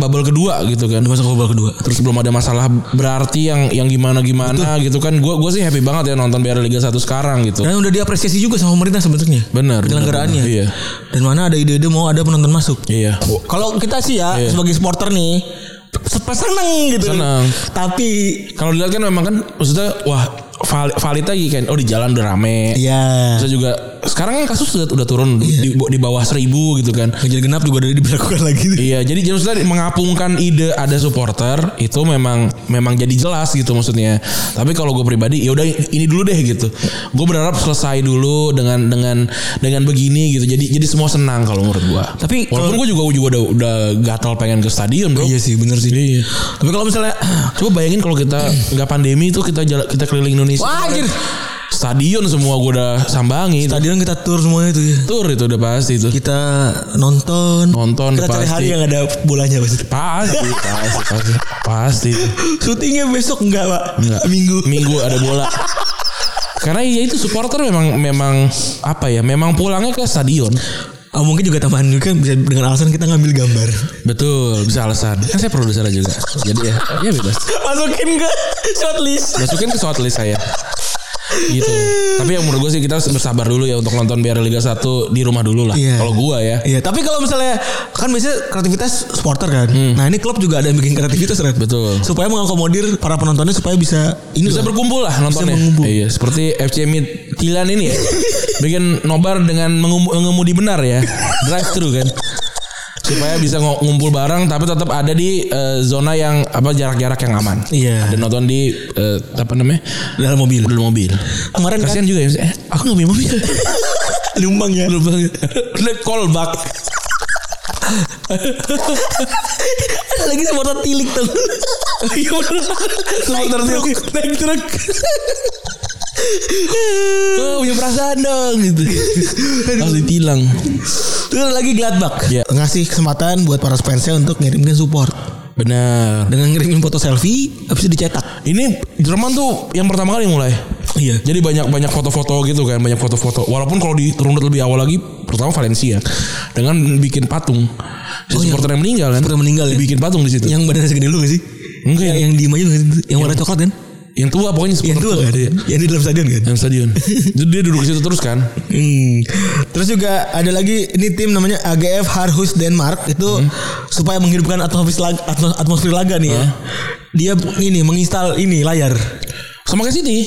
Speaker 3: bubble kedua gitu kan
Speaker 2: Udah masuk ke babak kedua.
Speaker 3: terus belum ada masalah berarti yang yang gimana gimana gitu kan gue gue sih happy banget ya nonton biar Liga 1 sekarang gitu
Speaker 2: Dan udah diapresiasi juga sama pemerintah sebenarnya.
Speaker 3: Benar,
Speaker 2: Penyelenggaraannya.
Speaker 3: benar, iya.
Speaker 2: Dan mana ada ide-ide mau ada penonton masuk.
Speaker 3: iya
Speaker 2: Kalau kita sih ya
Speaker 3: Iya.
Speaker 2: sebagai supporter nih se- seneng gitu.
Speaker 3: Seneng.
Speaker 2: Tapi
Speaker 3: kalau dilihat kan memang kan maksudnya wah valid, valid lagi kan oh di jalan udah rame
Speaker 2: ya
Speaker 3: Terus juga sekarang kan kasus udah, udah turun di, di bawah seribu gitu kan.
Speaker 2: ganjil Iya. genap juga udah diberlakukan lagi.
Speaker 3: Iya, jadi jadi maksudnya mengapungkan ide ada supporter itu memang memang jadi jelas gitu maksudnya. Tapi kalau gue pribadi ya udah ini dulu deh gitu. Gue berharap selesai dulu dengan dengan dengan begini gitu. Jadi jadi semua senang kalau menurut gue.
Speaker 2: Tapi
Speaker 3: walaupun gue juga juga udah udah gatal pengen ke stadion bro.
Speaker 2: Iya sih bener sih.
Speaker 3: Iya. Tapi kalau misalnya coba bayangin kalau kita nggak pandemi itu kita jalan kita keliling Indonesia.
Speaker 2: Wah, anjir.
Speaker 3: Stadion semua gue udah sambangi.
Speaker 2: Stadion kita tour semuanya itu ya.
Speaker 3: Tur itu udah pasti itu.
Speaker 2: Kita nonton.
Speaker 3: Nonton
Speaker 2: Kita cari
Speaker 3: pasti.
Speaker 2: hari yang ada bolanya pasti.
Speaker 3: Pasti, pasti, pasti. Pasti.
Speaker 2: Syutingnya besok enggak, Pak?
Speaker 3: Enggak.
Speaker 2: Minggu.
Speaker 3: Minggu ada bola. Karena ya itu supporter memang memang apa ya? Memang pulangnya ke stadion.
Speaker 2: Oh, mungkin juga tambahan juga bisa dengan alasan kita ngambil gambar.
Speaker 3: Betul, bisa alasan. Kan saya produser juga. Jadi ya, ya bebas.
Speaker 2: Masukin ke shortlist.
Speaker 3: Masukin ke shortlist saya. Gitu. Tapi yang menurut gue sih kita harus bersabar dulu ya untuk nonton biar Liga 1 di rumah dulu lah.
Speaker 2: Iya.
Speaker 3: Kalau gua ya.
Speaker 2: Iya, tapi kalau misalnya kan biasanya kreativitas supporter kan. Nah, ini klub juga ada yang bikin kreativitas kan.
Speaker 3: Hmm. Betul.
Speaker 2: Supaya mengakomodir para penontonnya supaya bisa ini
Speaker 3: Bisa
Speaker 2: lah.
Speaker 3: berkumpul lah nontonnya.
Speaker 2: mengumpul.
Speaker 3: Iya, seperti FC Midtjylland ini ya. Bikin nobar dengan mengum- mengemudi benar ya. Drive thru kan. supaya bisa ngo- ngumpul bareng tapi tetap ada di eh, zona yang apa jarak-jarak yang aman.
Speaker 2: Iya.
Speaker 3: Dan nonton di eh, apa namanya?
Speaker 2: dalam mobil
Speaker 3: Dalam mobil.
Speaker 2: Kemarin kan-
Speaker 3: kasihan juga ya. Eh, aku nggak punya mobil. Numpang ya. Numpang. Udah callback.
Speaker 2: lagi supporter tilik tuh
Speaker 3: Iya bener. Supporter
Speaker 2: Naik
Speaker 3: truk. Naik truk. Oh punya perasaan dong gitu. Harus ditilang.
Speaker 2: terus lagi Gladbach
Speaker 3: Iya.
Speaker 2: ngasih kesempatan buat para fansnya untuk ngirimkan support
Speaker 3: Benar.
Speaker 2: dengan ngirimin foto selfie habis itu dicetak
Speaker 3: Ini Jerman tuh yang pertama kali mulai.
Speaker 2: iya
Speaker 3: Jadi banyak banyak foto-foto gitu kan, banyak foto-foto. Walaupun kalau diturunut lebih awal lagi, pertama Valencia dengan bikin patung. Si
Speaker 2: Oh, iya.
Speaker 3: supporter yang meninggal kan.
Speaker 2: Supporter yang meninggal, ya.
Speaker 3: Dibikin patung di situ.
Speaker 2: yang badannya segede lu gak sih
Speaker 3: Enggak,
Speaker 2: yang, yang
Speaker 3: yang-
Speaker 2: diem aja bukan sih? yang warna coklat kan
Speaker 3: yang tua pokoknya
Speaker 2: yang
Speaker 3: supporter
Speaker 2: tua kan
Speaker 3: iya.
Speaker 2: yang di dalam stadion kan
Speaker 3: Yang stadion. Jadi dia duduk di situ terus kan.
Speaker 2: Hmm. Terus juga ada lagi ini tim namanya AGF Harhus Denmark itu
Speaker 3: Hmm.
Speaker 2: supaya menghidupkan atmosfer laga, atmo- atmosfer laga nih
Speaker 3: Ah.
Speaker 2: ya. Dia ini menginstal ini layar.
Speaker 3: Sama kayak City.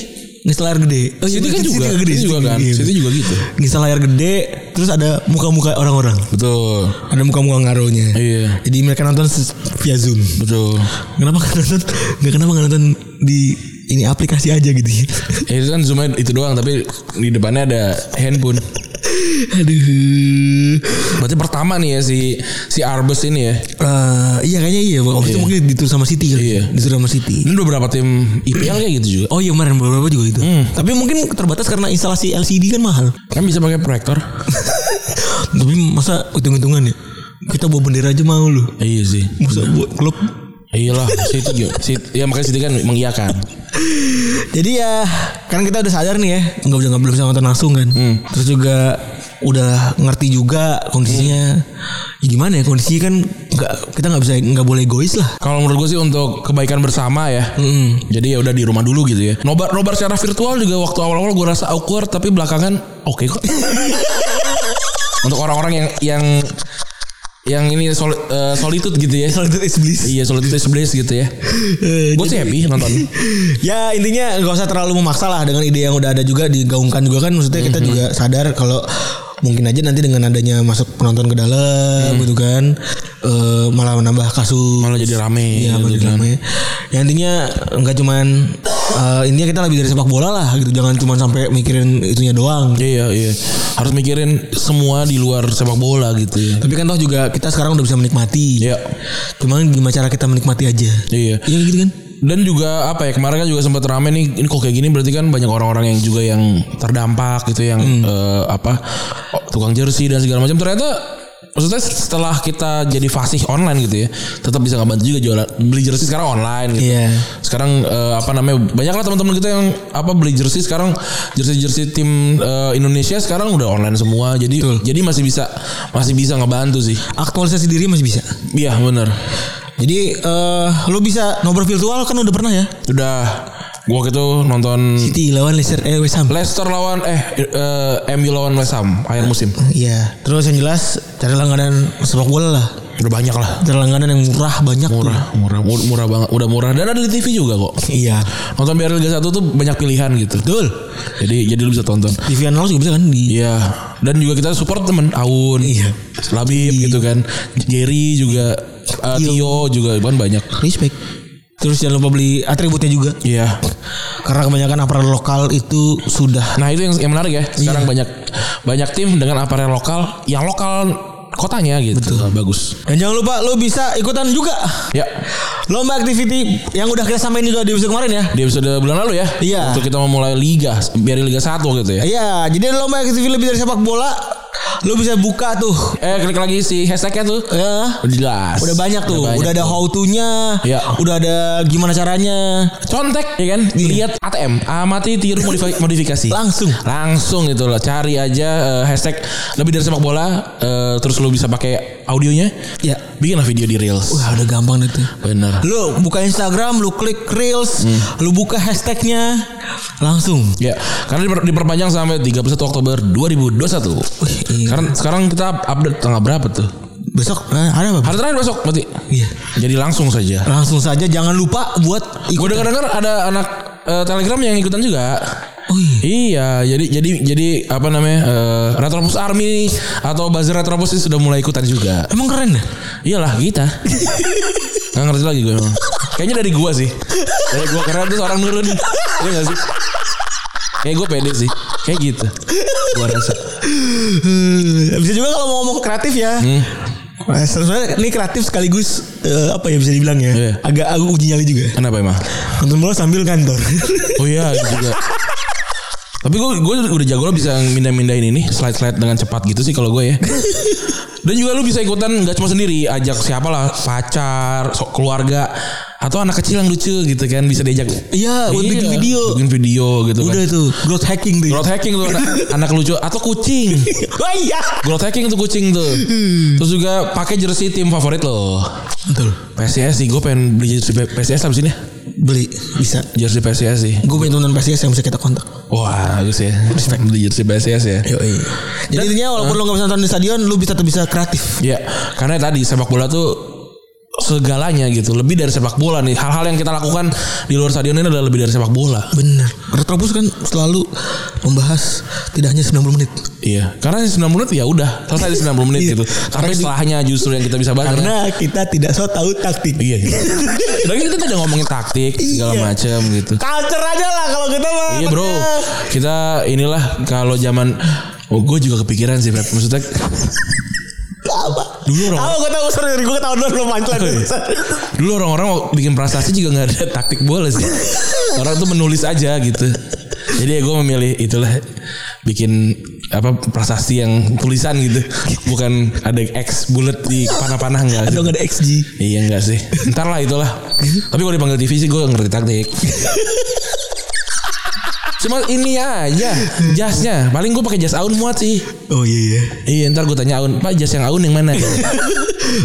Speaker 2: Nginstal layar gede. Oh,
Speaker 3: City
Speaker 2: iya,
Speaker 3: kan juga.
Speaker 2: City iya. gede,
Speaker 3: City juga kan.
Speaker 2: gede.
Speaker 3: City juga gitu.
Speaker 2: Nginstal layar gede terus ada muka-muka orang-orang.
Speaker 3: Betul.
Speaker 2: Ada muka-muka ngaruhnya.
Speaker 3: Iya.
Speaker 2: Jadi mereka nonton se- via Zoom.
Speaker 3: Betul.
Speaker 2: Kenapa nggak nonton? Nggak kenapa nggak nonton di ini aplikasi aja gitu ya.
Speaker 3: Ya, itu kan cuma itu doang tapi di depannya ada handphone.
Speaker 2: Aduh.
Speaker 3: Berarti pertama nih ya si si Arbus ini ya.
Speaker 2: Eh, iya kayaknya iya. Waktu itu
Speaker 3: Iya.
Speaker 2: mungkin disuruh sama City kali.
Speaker 3: Iya.
Speaker 2: Disuruh sama City.
Speaker 3: Ini beberapa tim IPL kayak gitu juga.
Speaker 2: Oh iya kemarin beberapa juga gitu.
Speaker 3: Hmm.
Speaker 2: Tapi mungkin terbatas karena instalasi LCD kan mahal.
Speaker 3: Kan bisa pakai proyektor.
Speaker 2: Tapi masa hitung-hitungan ya? Kita bawa bendera aja mau lu.
Speaker 3: iya sih.
Speaker 2: Masa buat klub.
Speaker 3: Iyalah, City juga. City- ya makanya City kan mengiyakan.
Speaker 2: Jadi ya kan kita udah sadar nih ya. Enggak udah nggak belum bisa nonton langsung kan. Terus juga udah ngerti juga kondisinya. Ya gimana ya kondisinya kan nggak kita nggak bisa nggak boleh egois lah.
Speaker 3: Kalau menurut gue sih untuk kebaikan bersama ya. Jadi ya udah di rumah dulu gitu ya. Nobar nobar secara virtual juga waktu awal-awal gue rasa awkward tapi belakangan oke kok. untuk orang-orang yang yang yang ini soli, eh, solitude gitu ya.
Speaker 2: Kalau itu is bliss.
Speaker 3: Iya solitude is bliss gitu ya.
Speaker 2: Eh,
Speaker 3: Gue sih happy nonton.
Speaker 2: ya intinya nggak usah terlalu memaksa lah dengan ide yang udah ada juga digaungkan juga kan maksudnya kita juga sadar kalau mungkin aja nanti dengan adanya masuk penonton ke dalam gitu kan eh, malah menambah kasus
Speaker 3: Malah jadi rame.
Speaker 2: Iya,
Speaker 3: gitu
Speaker 2: malah jadi
Speaker 3: kan.
Speaker 2: rame. Ya intinya nggak cuman eh, intinya kita lebih dari sepak bola lah gitu. Jangan cuman sampai mikirin itunya doang.
Speaker 3: Iya iya. Harus mikirin semua di luar sepak bola gitu ya.
Speaker 2: Tapi kan toh juga kita sekarang udah bisa menikmati.
Speaker 3: Iya.
Speaker 2: Cuman gimana cara kita menikmati aja.
Speaker 3: Iya.
Speaker 2: Iya gitu kan.
Speaker 3: Dan juga apa ya kemarin kan juga sempat rame nih ini kok kayak gini berarti kan banyak orang-orang yang juga yang terdampak gitu yang
Speaker 2: Hmm.
Speaker 3: eh, apa tukang jersey dan segala macam ternyata maksudnya setelah kita jadi fasih online gitu ya tetap bisa ngebantu juga jualan beli jersey sekarang online gitu.
Speaker 2: Iya.
Speaker 3: Sekarang eh, apa namanya banyak lah teman-teman kita yang apa beli jersey sekarang jersey-jersey tim eh, Indonesia sekarang udah online semua jadi jadi masih bisa masih bisa ngebantu sih.
Speaker 2: Aktualisasi diri masih bisa.
Speaker 3: Iya bener
Speaker 2: Jadi eh lu bisa nobar virtual kan udah pernah ya?
Speaker 3: Udah gua waktu itu nonton
Speaker 2: City lawan Leicester eh West Ham.
Speaker 3: Leicester lawan eh eh, MU lawan West Ham akhir musim.
Speaker 2: Iya. Terus yang jelas cari langganan sepak bola lah.
Speaker 3: Udah banyak lah.
Speaker 2: Cari langganan yang murah banyak. tuh.
Speaker 3: Murah, murah, mur- murah banget. Udah murah dan ada di TV juga kok.
Speaker 2: Iya.
Speaker 3: Nonton biar Liga 1 tuh banyak pilihan gitu. Betul. Jadi jadi lu bisa tonton.
Speaker 2: TV analog juga bisa kan di
Speaker 3: Iya. Dan juga kita support temen Aun.
Speaker 2: Iya.
Speaker 3: Labib gitu kan. Jerry juga eh, Tio juga kan banyak.
Speaker 2: respect. Terus jangan lupa beli atributnya juga.
Speaker 3: Iya.
Speaker 2: Karena kebanyakan aparel lokal itu sudah
Speaker 3: Nah, itu yang yang menarik ya. Sekarang banyak banyak tim dengan aparel lokal yang lokal kotanya gitu. Bagus.
Speaker 2: dan jangan lupa lu bisa ikutan juga
Speaker 3: Ya.
Speaker 2: lomba activity yang udah kita sampaikan juga di episode kemarin ya.
Speaker 3: Di episode bulan lalu ya.
Speaker 2: Iya.
Speaker 3: Untuk kita memulai liga, biar liga 1 gitu ya.
Speaker 2: Iya, jadi ada lomba activity lebih dari sepak bola lu bisa buka tuh.
Speaker 3: Eh klik lagi si hashtagnya tuh.
Speaker 2: Ya.
Speaker 3: Udah jelas.
Speaker 2: Udah banyak tuh, Ya. udah, ada
Speaker 3: tuh.
Speaker 2: how to-nya,
Speaker 3: Iya.
Speaker 2: udah ada gimana caranya.
Speaker 3: Contek ya kan?
Speaker 2: Iya.
Speaker 3: Lihat ATM, amati tiru modifi- modifikasi.
Speaker 2: Langsung.
Speaker 3: Langsung gitu loh. Cari aja eh, hashtag lebih dari sepak bola eh, terus lu bisa pakai audionya.
Speaker 2: Ya.
Speaker 3: Bikinlah video di Reels.
Speaker 2: Wah, udah gampang itu.
Speaker 3: Bener.
Speaker 2: Lu buka Instagram, lu klik Reels, lu buka hashtagnya langsung.
Speaker 3: Ya, karena diper- diperpanjang sampai 31 Oktober 2021.
Speaker 2: Wih, iya.
Speaker 3: Sekarang sekarang kita update tanggal berapa tuh?
Speaker 2: Besok eh, ada apa?
Speaker 3: Hari terakhir besok berarti.
Speaker 2: Iya.
Speaker 3: Jadi langsung saja.
Speaker 2: Langsung saja jangan lupa buat
Speaker 3: Gue
Speaker 2: ikut.
Speaker 3: denger dengar ada anak eh, Telegram yang ikutan juga. Iya, jadi jadi jadi apa namanya eh, Retropus Army atau Buzzer Retropus ini sudah mulai ikutan juga.
Speaker 2: Emang keren ya?
Speaker 3: Iyalah kita. Nggak ngerti lagi gue emang. Kayaknya dari gua sih. Dari gua karena terus orang nurun. Iya gak sih? Kayak gue pede sih. Kayak gitu. Gua rasa.
Speaker 2: Eh, Bisa juga kalau mau ngomong kreatif ya. Nah, sebenarnya ini kreatif sekaligus eh, apa ya bisa dibilang ya.
Speaker 3: Iya.
Speaker 2: Agak agak uji nyali juga.
Speaker 3: Kenapa emang?
Speaker 2: Nonton bola sambil kantor.
Speaker 3: Oh iya itu juga. Tapi gue gue udah jago lo bisa mindah-mindahin ini slide-slide dengan cepat gitu sih kalau gue ya. Dan juga lu bisa ikutan nggak cuma sendiri, ajak siapa lah, pacar, so- keluarga atau anak kecil yang lucu gitu kan bisa diajak.
Speaker 2: Iya, buat bikin video.
Speaker 3: Bikin video gitu
Speaker 2: Udah
Speaker 3: kan.
Speaker 2: tuh, growth hacking tuh.
Speaker 3: Growth hacking tuh anak, anak lucu atau kucing.
Speaker 2: Oh iya.
Speaker 3: Growth hacking tuh kucing tuh.
Speaker 2: Hmm.
Speaker 3: Terus juga pakai jersey tim favorit lo.
Speaker 2: Betul.
Speaker 3: PSIS sih gue pengen beli jersey PSIS abis ini. ya.
Speaker 2: Beli bisa.
Speaker 3: Jersey PSIS sih.
Speaker 2: Gue punya teman PSIS yang bisa kita kontak.
Speaker 3: Wah, bagus ya. Respect beli jersey PSIS ya.
Speaker 2: Yoi. Jadi intinya walaupun lo gak bisa nonton di stadion, lo bisa tetap bisa kreatif.
Speaker 3: Ya, karena tadi sepak bola tuh segalanya gitu. Lebih dari sepak bola nih. Hal-hal yang kita lakukan di luar stadion ini adalah lebih dari sepak bola.
Speaker 2: Bener. Retropus kan selalu membahas tidak hanya 90 menit.
Speaker 3: Iya, karena di 90 menit ya udah selesai di 90 menit
Speaker 2: Iya.
Speaker 3: gitu. Tapi setelahnya justru yang kita bisa bahas karena
Speaker 2: Karena kita tidak so tahu taktik.
Speaker 3: iya. iya. Lagi kita udah ngomongin taktik segala
Speaker 2: Iya.
Speaker 3: macam gitu.
Speaker 2: Culture aja lah kalau kita mah.
Speaker 3: Iya bro, kita inilah kalau zaman Oh gue juga kepikiran sih Brad. Maksudnya
Speaker 2: Apa?
Speaker 3: Dulu orang-
Speaker 2: Tahu gue tahu sorry gue ketahuan dulu belum main lagi.
Speaker 3: dulu orang-orang mau bikin prestasi juga nggak ada taktik bola sih. Orang tuh menulis aja gitu. Jadi gue memilih itulah bikin apa prestasi yang tulisan gitu. Bukan ada X bullet di panah-panah enggak
Speaker 2: Atau
Speaker 3: sih.
Speaker 2: nggak ada XG.
Speaker 3: Iya enggak sih. Ntar lah itulah. Tapi kalau dipanggil TV sih gue ngerti taktik. Cuma ini aja jasnya. Paling gue pakai jas Aun muat sih.
Speaker 2: Oh iya iya.
Speaker 3: Iya ntar gue tanya Aun, Pak jas yang Aun yang mana?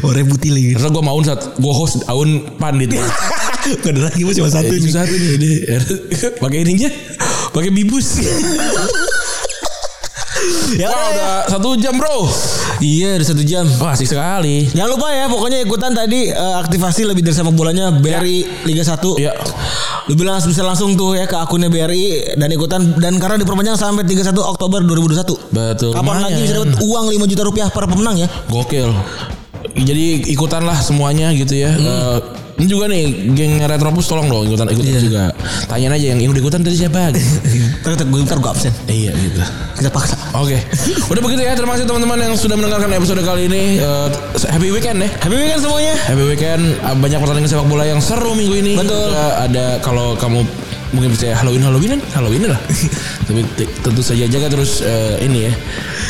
Speaker 2: Oh rebuti lagi.
Speaker 3: Terus gue mau saat gue host Aun Pandit.
Speaker 2: Gak ada lagi gua cuma satu
Speaker 3: Eh,
Speaker 2: ini.
Speaker 3: cuma satu nih ini. pakai ininya pakai bibus
Speaker 2: Ya,
Speaker 3: Wah,
Speaker 2: ya.
Speaker 3: udah satu jam bro
Speaker 2: Iya udah satu jam.
Speaker 3: wah asik sekali
Speaker 2: Jangan lupa ya pokoknya ikutan tadi eh, aktivasi lebih dari sepak bolanya BRI Liga 1.
Speaker 3: Iya.
Speaker 2: Lu bilang bisa langsung tuh ya ke akunnya BRI dan ikutan dan karena diperpanjang sampai 31 Oktober 2021.
Speaker 3: betul
Speaker 2: Kapan lagi bisa dapat uang 5 juta rupiah per pemenang ya?
Speaker 3: gokil jadi ikutanlah semuanya gitu ya Eh, ini juga nih geng Retropus tolong dong ikutan ikutan juga tanyain aja yang udah ikutan tadi siapa gitu.
Speaker 2: Ternyata gue ntar gue absen.
Speaker 3: iya gitu
Speaker 2: Kita paksa.
Speaker 3: Oke, udah begitu ya. Terima kasih teman-teman yang sudah mendengarkan episode kali ini. Eh, happy weekend ya.
Speaker 2: Happy weekend semuanya.
Speaker 3: Happy weekend uh, banyak pertandingan sepak bola yang seru minggu ini.
Speaker 2: Betul.
Speaker 3: Juga ada kalau kamu mungkin percaya Halloween Halloweenan Halloween lah. Tapi t- tentu saja jaga terus eh, ini ya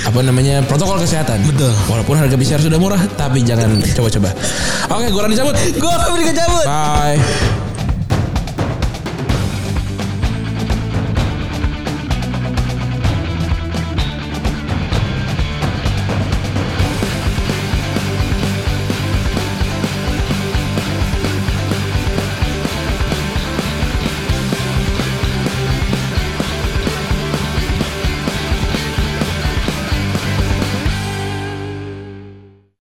Speaker 3: apa namanya protokol kesehatan.
Speaker 2: Betul.
Speaker 3: Walaupun harga PCR sudah murah tapi jangan coba-coba. Oke, gue Rani cabut.
Speaker 2: Gue Febri Kecabut.
Speaker 3: Bye.